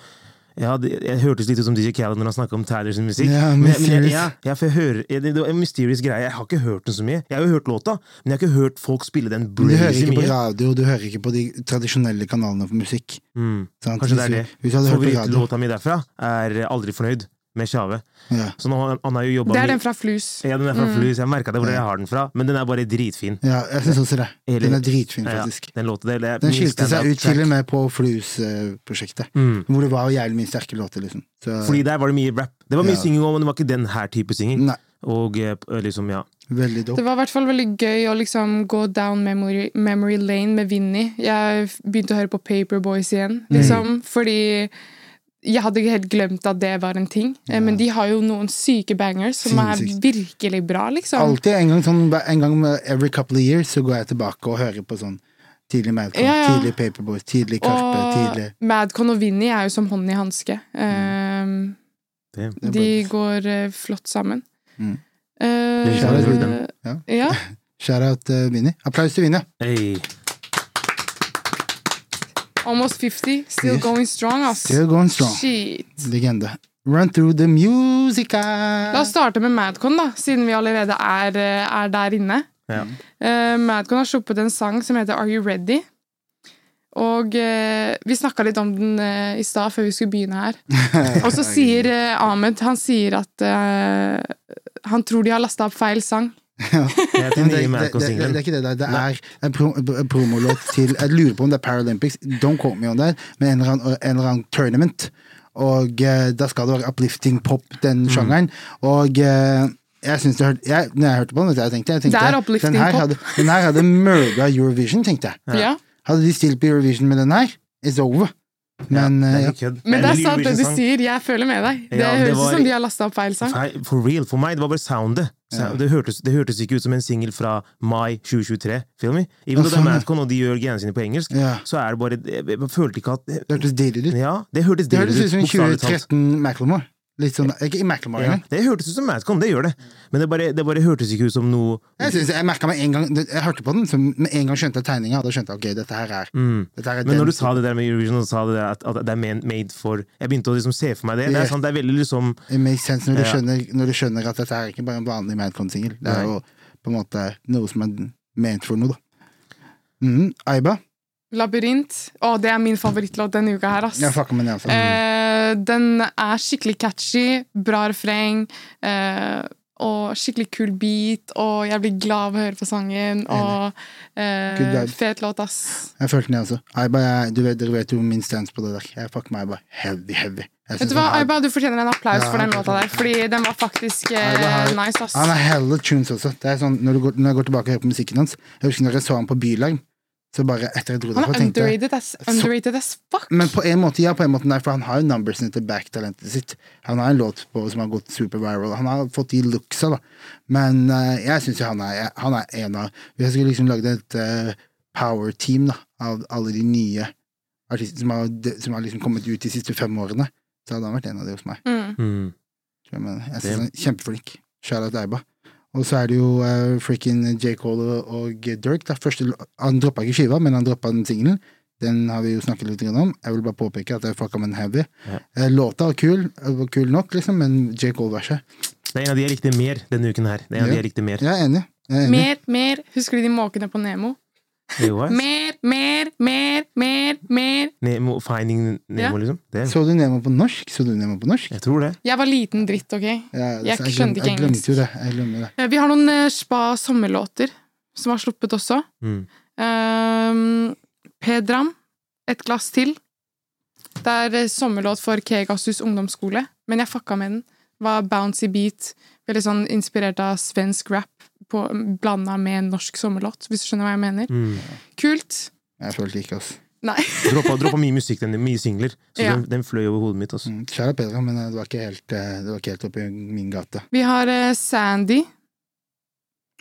ja, det, jeg hørtes litt ut som DJ Khaled når han snakka om Tyler sin musikk. Ja, men, men jeg, mysterious. ja, ja, for jeg hører, ja, det, det var en mysterious greie. Jeg har ikke hørt den så mye. Jeg har jo hørt låta, men jeg har ikke hørt folk spille den Du hører brazy ikke på mye. radio, du hører ikke på de tradisjonelle kanalene for musikk. Mm. Sant? Kanskje det er Hvis du- Hvis du hadde hørt på radio Favorittlåta mi derfra er Aldri fornøyd med Tjave. ja. Så nå, har- han har jo jobba Det er den fra Flus. Ja, den er fra Mm. Flus. Jeg merka det hvor Ja. jeg har den fra, men den er bare dritfin. ja, jeg syns også det. Hele- Den er dritfin, Ja, faktisk. den låta der. det er Den min skilte seg standout ut til track. og med på Flues-prosjektet, Mm. hvor det var jævlig mye sterke låter, liksom. Så, Fordi der var det mye rap. Det var mye Ja. synging også, men det var ikke den her type synging. nei, Og eh, p- liksom, ja. veldig dope. Det var i hvert fall veldig gøy å liksom gå down memory, memory lane med Vinni. Jeg f- begynte å høre på Paperboys igjen, Mm. liksom, fordi jeg hadde ikke helt glemt at det var en ting. Eh, Men de har jo noen syke bangers som er Sinnssykt. virkelig bra, liksom. Alltid en gang sånn En gang med every couple of years så går jeg tilbake og hører på sånn tidlig Malcolm, Ja, ja. tidlig Paperboys, tidlig Karpe, Og tidlig Mm. Madcon og Vinni er jo som hånd i hanske. Ehm, Det. er De går eh, flott sammen. Mm. Eh, Det er kjærlighet til dem. ja. Ja. Shout-out uh, Vinni. Applaus til Vinni. Hey. Almost 50, still Yes. going strong, ass. Still going strong. Shit. Legende. Run through the music ah. La oss starte med Madcon, da, siden vi allerede er, eh, er der inne. Ja. Eh, Madcon har sluppet en sang som heter Are You Ready? Og eh, vi snakka litt om den eh, i stad, før vi skulle begynne [laughs] her. Og så sier eh, Ahmed Han sier at eh, han tror de har lasta opp feil sang. Det er Men den nye det, det, det, det, det Malcolm-singelen. er ikke det der. Det er en, pro, en promolåt til Jeg lurer på om det er Paralympics, don't quote me on that, men en eller annen, en eller annen tournament. Og eh, da skal det være uplifting pop, Mm. den sjangeren. Og eh, jeg synes det hørte, jeg, når jeg hørte på den, vet du, jeg tenkte, jeg tenkte Det er uplifting den her pop. Hadde, den her hadde murda Eurovision, tenkte jeg. Ja. Hadde de stilt på Eurovision med den her, it's over. Men Det eh, er ja. ikke kødd. Men Det det er er sant det du Eurovision-sang. sier. Jeg føler med deg. Det Ja, det høres ut var- som de har lasta opp feil sang. Feil- For real, for meg, det var bare soundet. Sound- Det hørtes, det hørtes ikke ut som en singel fra mai 2023. Feel me? Even Ja, though det er sånn, ja. Madcon, og de gjør greiene sine på engelsk, Ja. så er det bare Jeg, jeg følte ikke at det hørtes deilig ut. Ja, det hørtes Det hørtes ut som bokstavelig talt. 2013 Macklemore. Litt sånn, ikke Macklemore Ja, engang. det hørtes ut som Madcon, det gjør det. Men det bare, det bare hørtes ikke ut som noe Jeg, synes, jeg merket med en gang Jeg hørte på den, så med en gang skjønte jeg tegninga. Da skjønte jeg ok, dette her er, dette her er Mm. Men den- når du sa det der med Eurovision, og sa det der at, at det er men- made for Jeg begynte å liksom se for meg det. Det Ja. er, sant, det er veldig liksom It makes sense når du, Ja. skjønner, når du skjønner at dette er ikke bare en vanlig Madcon-singel. Det er Nei. jo på en måte noe som er ment for noe, da. Mm, Aiba. Labyrint. Å, det er min favorittlåt denne uka her, ass. Jeg fucka med den, altså. Eh, den er skikkelig catchy, bra refreng, eh, og skikkelig kul beat, og jeg blir glad av å høre på sangen, og Good eh, vibe. fet låt, ass. Mm, Jeg følte den, jeg også. Aiba, jeg, du vet, dere vet jo min stance på det der. Jeg fucker med Aiba heavy, heavy. Jeg Vet synes du hva, han er- Aiba, du fortjener en applaus Ja, for den takk, låta der, fordi den var faktisk eh, Aiba har- nice, ass. Han er hella tunes også. Det er sånn, når, du går, når jeg går tilbake og hører på musikken hans Jeg husker når jeg så han på Bylarm, så bare etter jeg dro Han derfra, er tenkte jeg underrated as, underrated as fuck. Men på en måte ja, på en måte nei, for han har jo numbersene til back-talentet sitt. Han har en låt på som har gått superviral. Han har fått de looksa, da. Men eh, jeg syns jo han er, han er en av Hvis jeg skulle liksom lagd et eh, power team da, av alle de nye artistene som har, de, som har liksom kommet ut de siste fem årene, så hadde han vært en av de hos meg. Mm. mm, tror Jeg, mener. jeg synes han er sånn kjempeflink. Charlotte Eiba. Og så er det jo uh, frikken J. Cole og Dirk. Da. Første, han droppa ikke skiva, men han droppa den singelen. Den har vi jo snakket litt grann om. Jeg vil bare påpeke at det er fucka men heavy. Ja. Eh, Låta var kul, eh, var kul nok, liksom, men J. Cole-verset Det er en av de jeg likte mer denne uken her. Det er en av de jeg likte mer. Jeg er enig. Jeg er enig. Mer, mer. Husker du de måkene på Nemo? Jo, ass. Mer, mer, mer, mer, mer. Nemo, finding Nemo, liksom. Det, Så du Nemo på norsk? Så du Nemo på norsk? jeg tror det. Jeg var liten dritt, ok? Ja, Jeg så skjønte glem- ikke Jeg glemte engelsk. jo det. Jeg glemmer det. Eh, Vi har noen eh, spa sommerlåter som har sluppet også. Mm. Ehm, Pedram, Et glass til. Det er eh, sommerlåt for Kegasus ungdomsskole, men jeg fucka med den. Var bouncy beat, veldig sånn inspirert av svensk rap på, blanda med en norsk sommerlåt, hvis du skjønner hva jeg mener. Mm. Kult. Jeg følte ikke, altså. Nei. [laughs] Droppa, droppa mye musikk, den, mye singler. Så Ja. den, den fløy over hodet mitt. Altså. Mm, Kjære Pedra, men eh, det var ikke helt, eh, det var ikke helt oppi min gate. Vi har eh, Sandy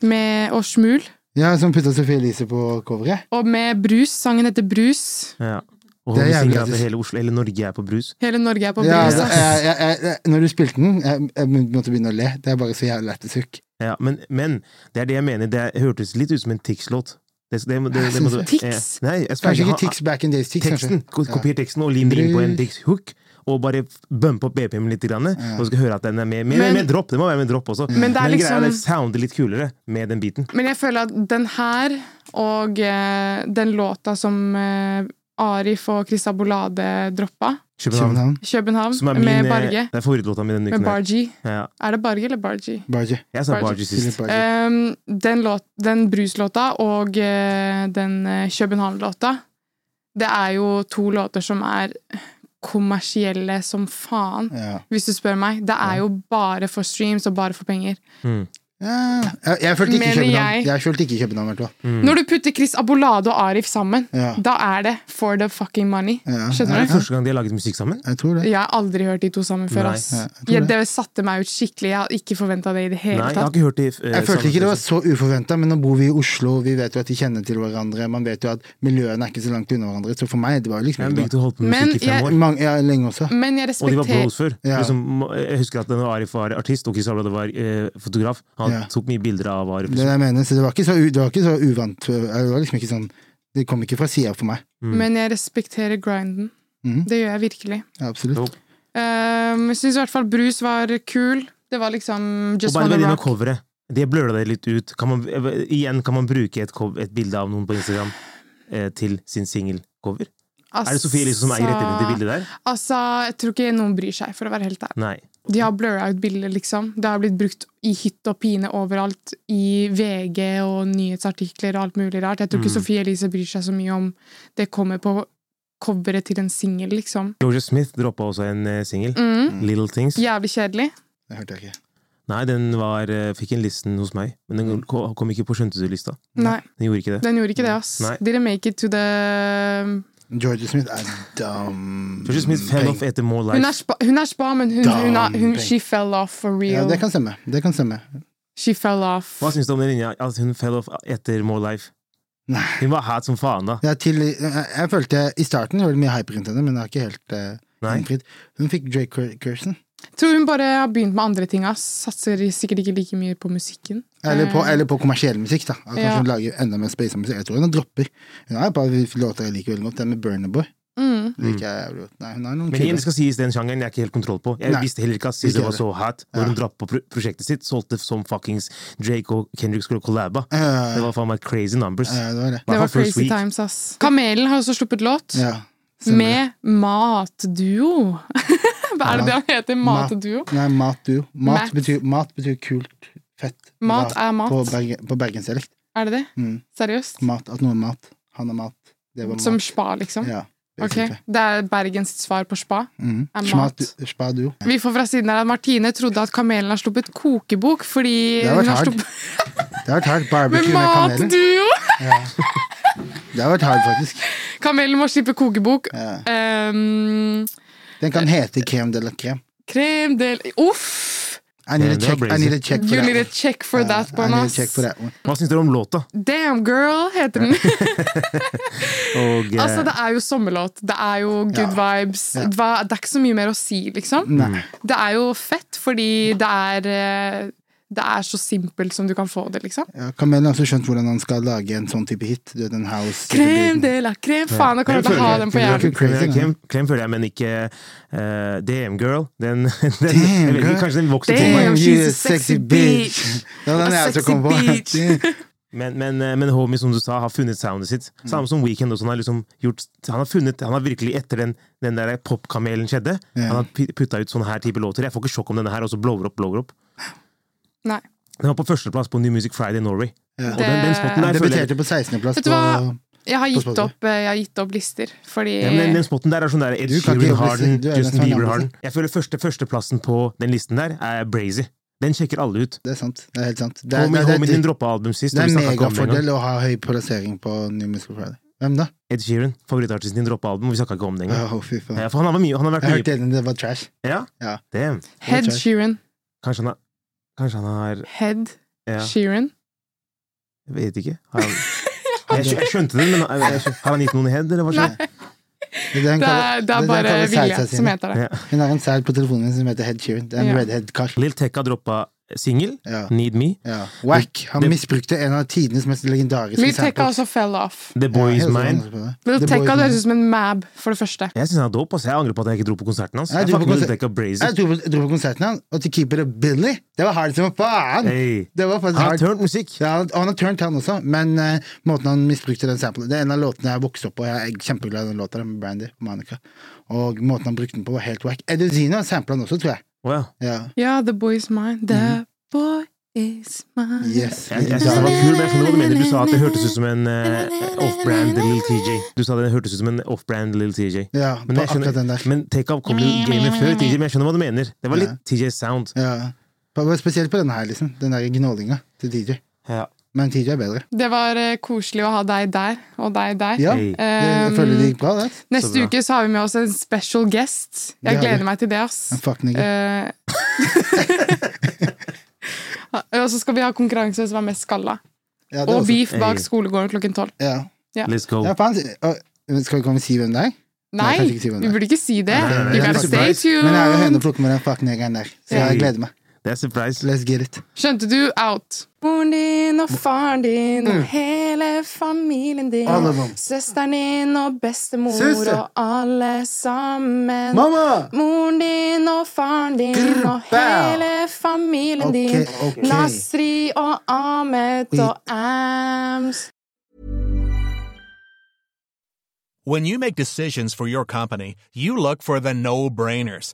med, og Smul, Ja, som sånn putta Sophie Elise på coveret. og med Brus. Sangen heter Brus. Ja. Og Mm. Det hun er jævlig synger at lættis. hele Oslo, eller Norge er på brus. Hele Norge er på altså. Ja, brus. det, ass. jeg, jeg, jeg, jeg- når du spilte den, jeg, jeg måtte begynne å le. Det er bare så jævlig lættis hukk. Ja, men, men det er det jeg mener. Det hørtes litt ut som en Tix-låt. Det, det, det, det, Jeg må synes du- det. Tix? Eh, Nei, jeg skal Kanskje ikke ha- Tix back in days Tix, kanskje. teksten, ko- kopier teksten og lim det inn på en Dix hook, og bare f- bumpe opp BPM litt, grann, og så skal du høre at den er med, med, Men- med dropp. Det må være med dropp også. Men det er greia liksom- det sounder litt kulere med den biten. Men jeg føler at den her og eh, den låta som eh, Arif og Christa Bolade droppa, København. København. København, Som er min, med eh, Barge Det er favorittlåta mi denne Med uken. her. Bargie. Ja, Er det Barge eller Bargie? Barge. jeg sa Barge. Bargie Philip sist. Barge. Ehm, den, låt, den bruslåta og eh, den eh, København-låta, det er jo to låter som er kommersielle som faen, Ja. hvis du spør meg. Det er jo bare for streams og bare for penger. Ja. Jeg, jeg følte ikke Mener København. jeg. Jeg følte ikke København, i hvert fall. Mm. Når du putter Chris Abolade og Arif sammen, Ja. da er det for the fucking money. Ja. Det Skjønner er du? første gang de har laget musikk sammen. Jeg tror det. Jeg har aldri hørt de to sammen før. Nei. ass. Ja, jeg tror Ja, det. det satte meg ut skikkelig. Jeg hadde ikke forventa det i det hele Nei, jeg har tatt. ikke hørt det eh, Jeg følte sammen. ikke det var så uforventa, men nå bor vi i Oslo, vi vet jo at de kjenner til hverandre, man vet jo at miljøene er ikke så langt unna hverandre, så for meg, det var jo Jeg liksom har ikke begge to holdt på med Men musikk i fem jeg- år. noe. Mange, ja, lenge også. Men jeg Og de var respekterer bros før. Ja. Liksom, jeg husker at når Arif var artist, og Chris Ablad var eh, fotograf, han Ja. tok mye bilder av Arif. Det er det jeg mener, så det var ikke så, u- det var ikke så uvant. Det var liksom ikke sånn Det kom ikke fra sida for meg. mm. Men jeg respekterer grinden. Mhm. Det gjør jeg virkelig. Ja, absolutt. Dope. Um, jeg syns i hvert fall Brus var kul. Det var liksom Og Just bare Wanna med denne Rock. coveret. Det bløla det litt ut. Kan man, eh, igjen kan man bruke et, cov- et bilde av noen på Instagram eh, til sin singel. cover? Er det Sofie Elise som eier rettighetene til bildet der? Altså, jeg tror ikke noen bryr seg, for å være helt ærlig. Nei. De har blurra ut bilder, liksom. Det har blitt brukt i hytt og pine overalt. I VG og nyhetsartikler og alt mulig rart. Jeg tror ikke Mm. Sophie Elise bryr seg så mye om det kommer på coveret til en singel, liksom. Georgia Smith droppa også en eh, singel. Mm. Little Things. Jævlig kjedelig. Det hørte jeg ikke. Nei, den var, eh, fikk en listen hos meg, men den ko- kom ikke på skjønteslista. Nei, Den gjorde ikke det. den gjorde ikke det, ass. Nei. Didn't make it to the Georgie Smith er dum. Georgia Smith fell off etter More Hun er Life. spa, hun er spa men hun, hun, er- hun, Damn. She fell off for Ja, real. det kan stemme. Det kan stemme. She fell off. Hva syns du om den linja? At hun fell off etter More Life? Nei. Hun var hat som faen, da. Jeg, til, jeg, jeg følte i starten det var mye hype rundt henne, men det er ikke helt eh, Nei. innfridd. Hun fikk Drake Cur- Curson. Tror hun bare har begynt med andre ting. ass. Satser sikkert ikke like mye på musikken. Eller på, Eh, eller på kommersiell musikk, da. At Kanskje Ja. hun lager enda mer space musikk. Jeg tror hun dropper. Hun har et par låter jeg liker veldig godt. Den med Burner Boy. Mm. Liker jeg jævlig godt. Nei, hun har noen Men igjen, kule. det skal sies, den sjangeren jeg har ikke helt kontroll på. Jeg Nei. visste heller ikke at SZA Ikke var så hot når Ja. hun drapp på pro prosjektet sitt. Solgte som fuckings Drake og Kendrick skulle collaba. Eh, Det var faen meg crazy numbers. eh, det var det. Det Hvertfall var first crazy week. times, ass. Kamelen har også sluppet låt. Ja, stemmer det. med matduo. [laughs] Hva er det det han heter? Mat- Matduo? Nei, mat duo. Mat, Mat. betyr- mat betyr kult, fett. Mat er mat. På, berge, på bergensdialekt. Er det det? Mm. Seriøst? Mat, at noe er mat. Han er mat. Det var mat. Som spa, liksom? ja, Ok, Det er Bergens svar på spa. Mm. Er Smat, mat. spa duo. Vi får fra siden her at Martine trodde at Kamelen har sluppet kokebok fordi Det har vært hun har hard. sluppet Det har vært hardt. med Barbecue med kanelen. matduo! Det har vært hardt, faktisk. Kamelen må slippe kokebok. Ja. Um, Den kan hete Crème de la crème. kremdel Uff! I need, Ja, a det var check, I need a check for You that one. I need a check for that one, need a ass. check for that one. Hva syns dere om låta? Damn girl, heter den. Og, eh, Altså, det er jo sommerlåt. Det er jo good vibes. Ja. Hva, det er ikke så mye mer å si, liksom. Nei. Det er jo fett, fordi det er eh, Det er så simpelt som du kan få det, liksom. Ja, Kamelen har også skjønt hvordan han skal lage en sånn type hit. Du vet, en house Krem de la krem. Faen, jeg Jeg kommer til å ha føler- den på jeg føler- hjernen. Crazy, Klem- da. Klem, klem føler jeg, men ikke eh, Damn Girl. Den, [laughs] den, jeg Damn, vet ikke, girl. Kanskje den vokser til meg. Damn, Damn, you she's a sexy bitch. Det var den A jeg også sexy kom på. [laughs] bitch. Men, men, eh, men Homie, som du sa, har funnet soundet sitt. Samme som Weekend også. Han har, liksom gjort, han har, funnet, han har virkelig, etter den, den der popkamelen skjedde, Ja. han har pu- putta ut sånne her type låter. Jeg får ikke sjokk om denne her, og så blower opp, blower opp. Nei. Den var på førsteplass på New Music Friday Norway. Ja. Og den, den spotten der, føler jeg, Debuterte på 16.-plass Vet du på hva? Jeg har gitt Spotify. opp, eh, jeg har gitt opp lister, fordi ja, men den, den spotten der er sånn der Ed Du kan ikke Sheeran jobbe- Harden, du er Justin nesten Bieber annerledes. Harden. Jeg føler første, førsteplassen på den listen der er Brazy. Den sjekker alle ut. Det er sant. Det er helt sant. Det er, Homie, det er, homie det din er, droppa album sist. det og er vi en snakket ikke om det engang. megafordel å ha høy plassering på New Musical Friday. Hvem da? Ed Sheeran, favorittartisten din, droppa album, og vi snakka ikke om det engang. Åh, fy faen. Ja, for han har, vært mye, han har vært Jeg mye hørte enig det var trash. Ja? Ja. Damn. Head Check. Sheeran. Kanskje han har Kanskje han har Head ja, Sheeran. Jeg vet ikke. Har han, [laughs] jeg, skjø- jeg skjønte det, men jeg- jeg skjø- har han gitt noen i head, eller hva skjer? Det er, det hun Det kaller- er, det det er er det hun bare kaller Vilje side-side som sine. heter det. Ja. Hun har en sæd på telefonen min som heter Head Sheeran. Det er en Ja. redhead-kar. Lill Tekka droppa singel, Ja. Need Me. Ja. Wack. Han Det- misbrukte en av tidenes mest legendariske Lil Tekka også fell off. The Boy Is sånn, Mine. altså. Lil Tekka høres ut som en mab, for det første. Jeg syns han er dope. ass. Jeg angrer på at jeg ikke dro på konserten hans. Jeg Jeg dro på fucker med Lill konsert- Tekka Brazy. Jeg dro på, dro på konserten hans, og til keeper Billy Det var hardt som faen! Hey. Det var Han faktisk har hardt. turnt musikk. Ja, han- og han har turned, han også, men eh, måten han misbrukte den samplen Det er en av låtene jeg vokste opp på, og jeg er kjempeglad i den låta der med Brandy og Monica. Og måten han brukte den på, var helt wack. Eduzino sampla den også, tror jeg. Wow. Ja. Ja, the boy is mine. The boy is mine. Mhm. Yes. Jeg, jeg synes det var kul, men jeg skjønner hva du mener. Du sa at det hørtes ut som en eh, off-brand Lil TJ. Du sa det hørtes ut som en off-brand Lil TJ. Ja, Men, på jeg skjønner, akkurat den der. men Take Up kom jo i gamet før TJ, men jeg skjønner hva du mener. Det var litt TJ Sound. Ja. På- Spesielt på denne her, liksom. Den der gnålinga til DJ. Ja. Men TJ er bedre. Det var eh, koselig å ha deg der, og deg der. Ehm, Ja, Hey. det, jeg føler det gikk bra, det. Neste bra. uke så har vi med oss en special guest. Jeg Det har vi. gleder meg til det, En ass. fuck nigger. Eh, [laughs] og så skal vi ha konkurranse om som er mest skalla. Ja, det er Og også- beef bak Hey. skolegården klokken tolv. Ja. Let's go. ja faen, og, skal vi komme og si hvem det er? Nei, Nei, kanskje ikke si vi hvem det er. burde ikke si det. Nei, nei, nei, You det er gotta stay surprise. Men jeg er jo tuned. høneflokk med den fuck niggeren der, så Hey. jeg gleder meg. Det er surprise. Let's get it. Skjønte du? Out. Moren din og faren din Mm. og hele familien din. Alle sammen. Søsteren din og bestemor Søster. og alle sammen. Mamma! Moren din og faren din Grr, og bæ. hele familien Ok, din. ok. Nasri og Ahmed Oi. og Ams. When you make decisions for your company, you look for the no brainers.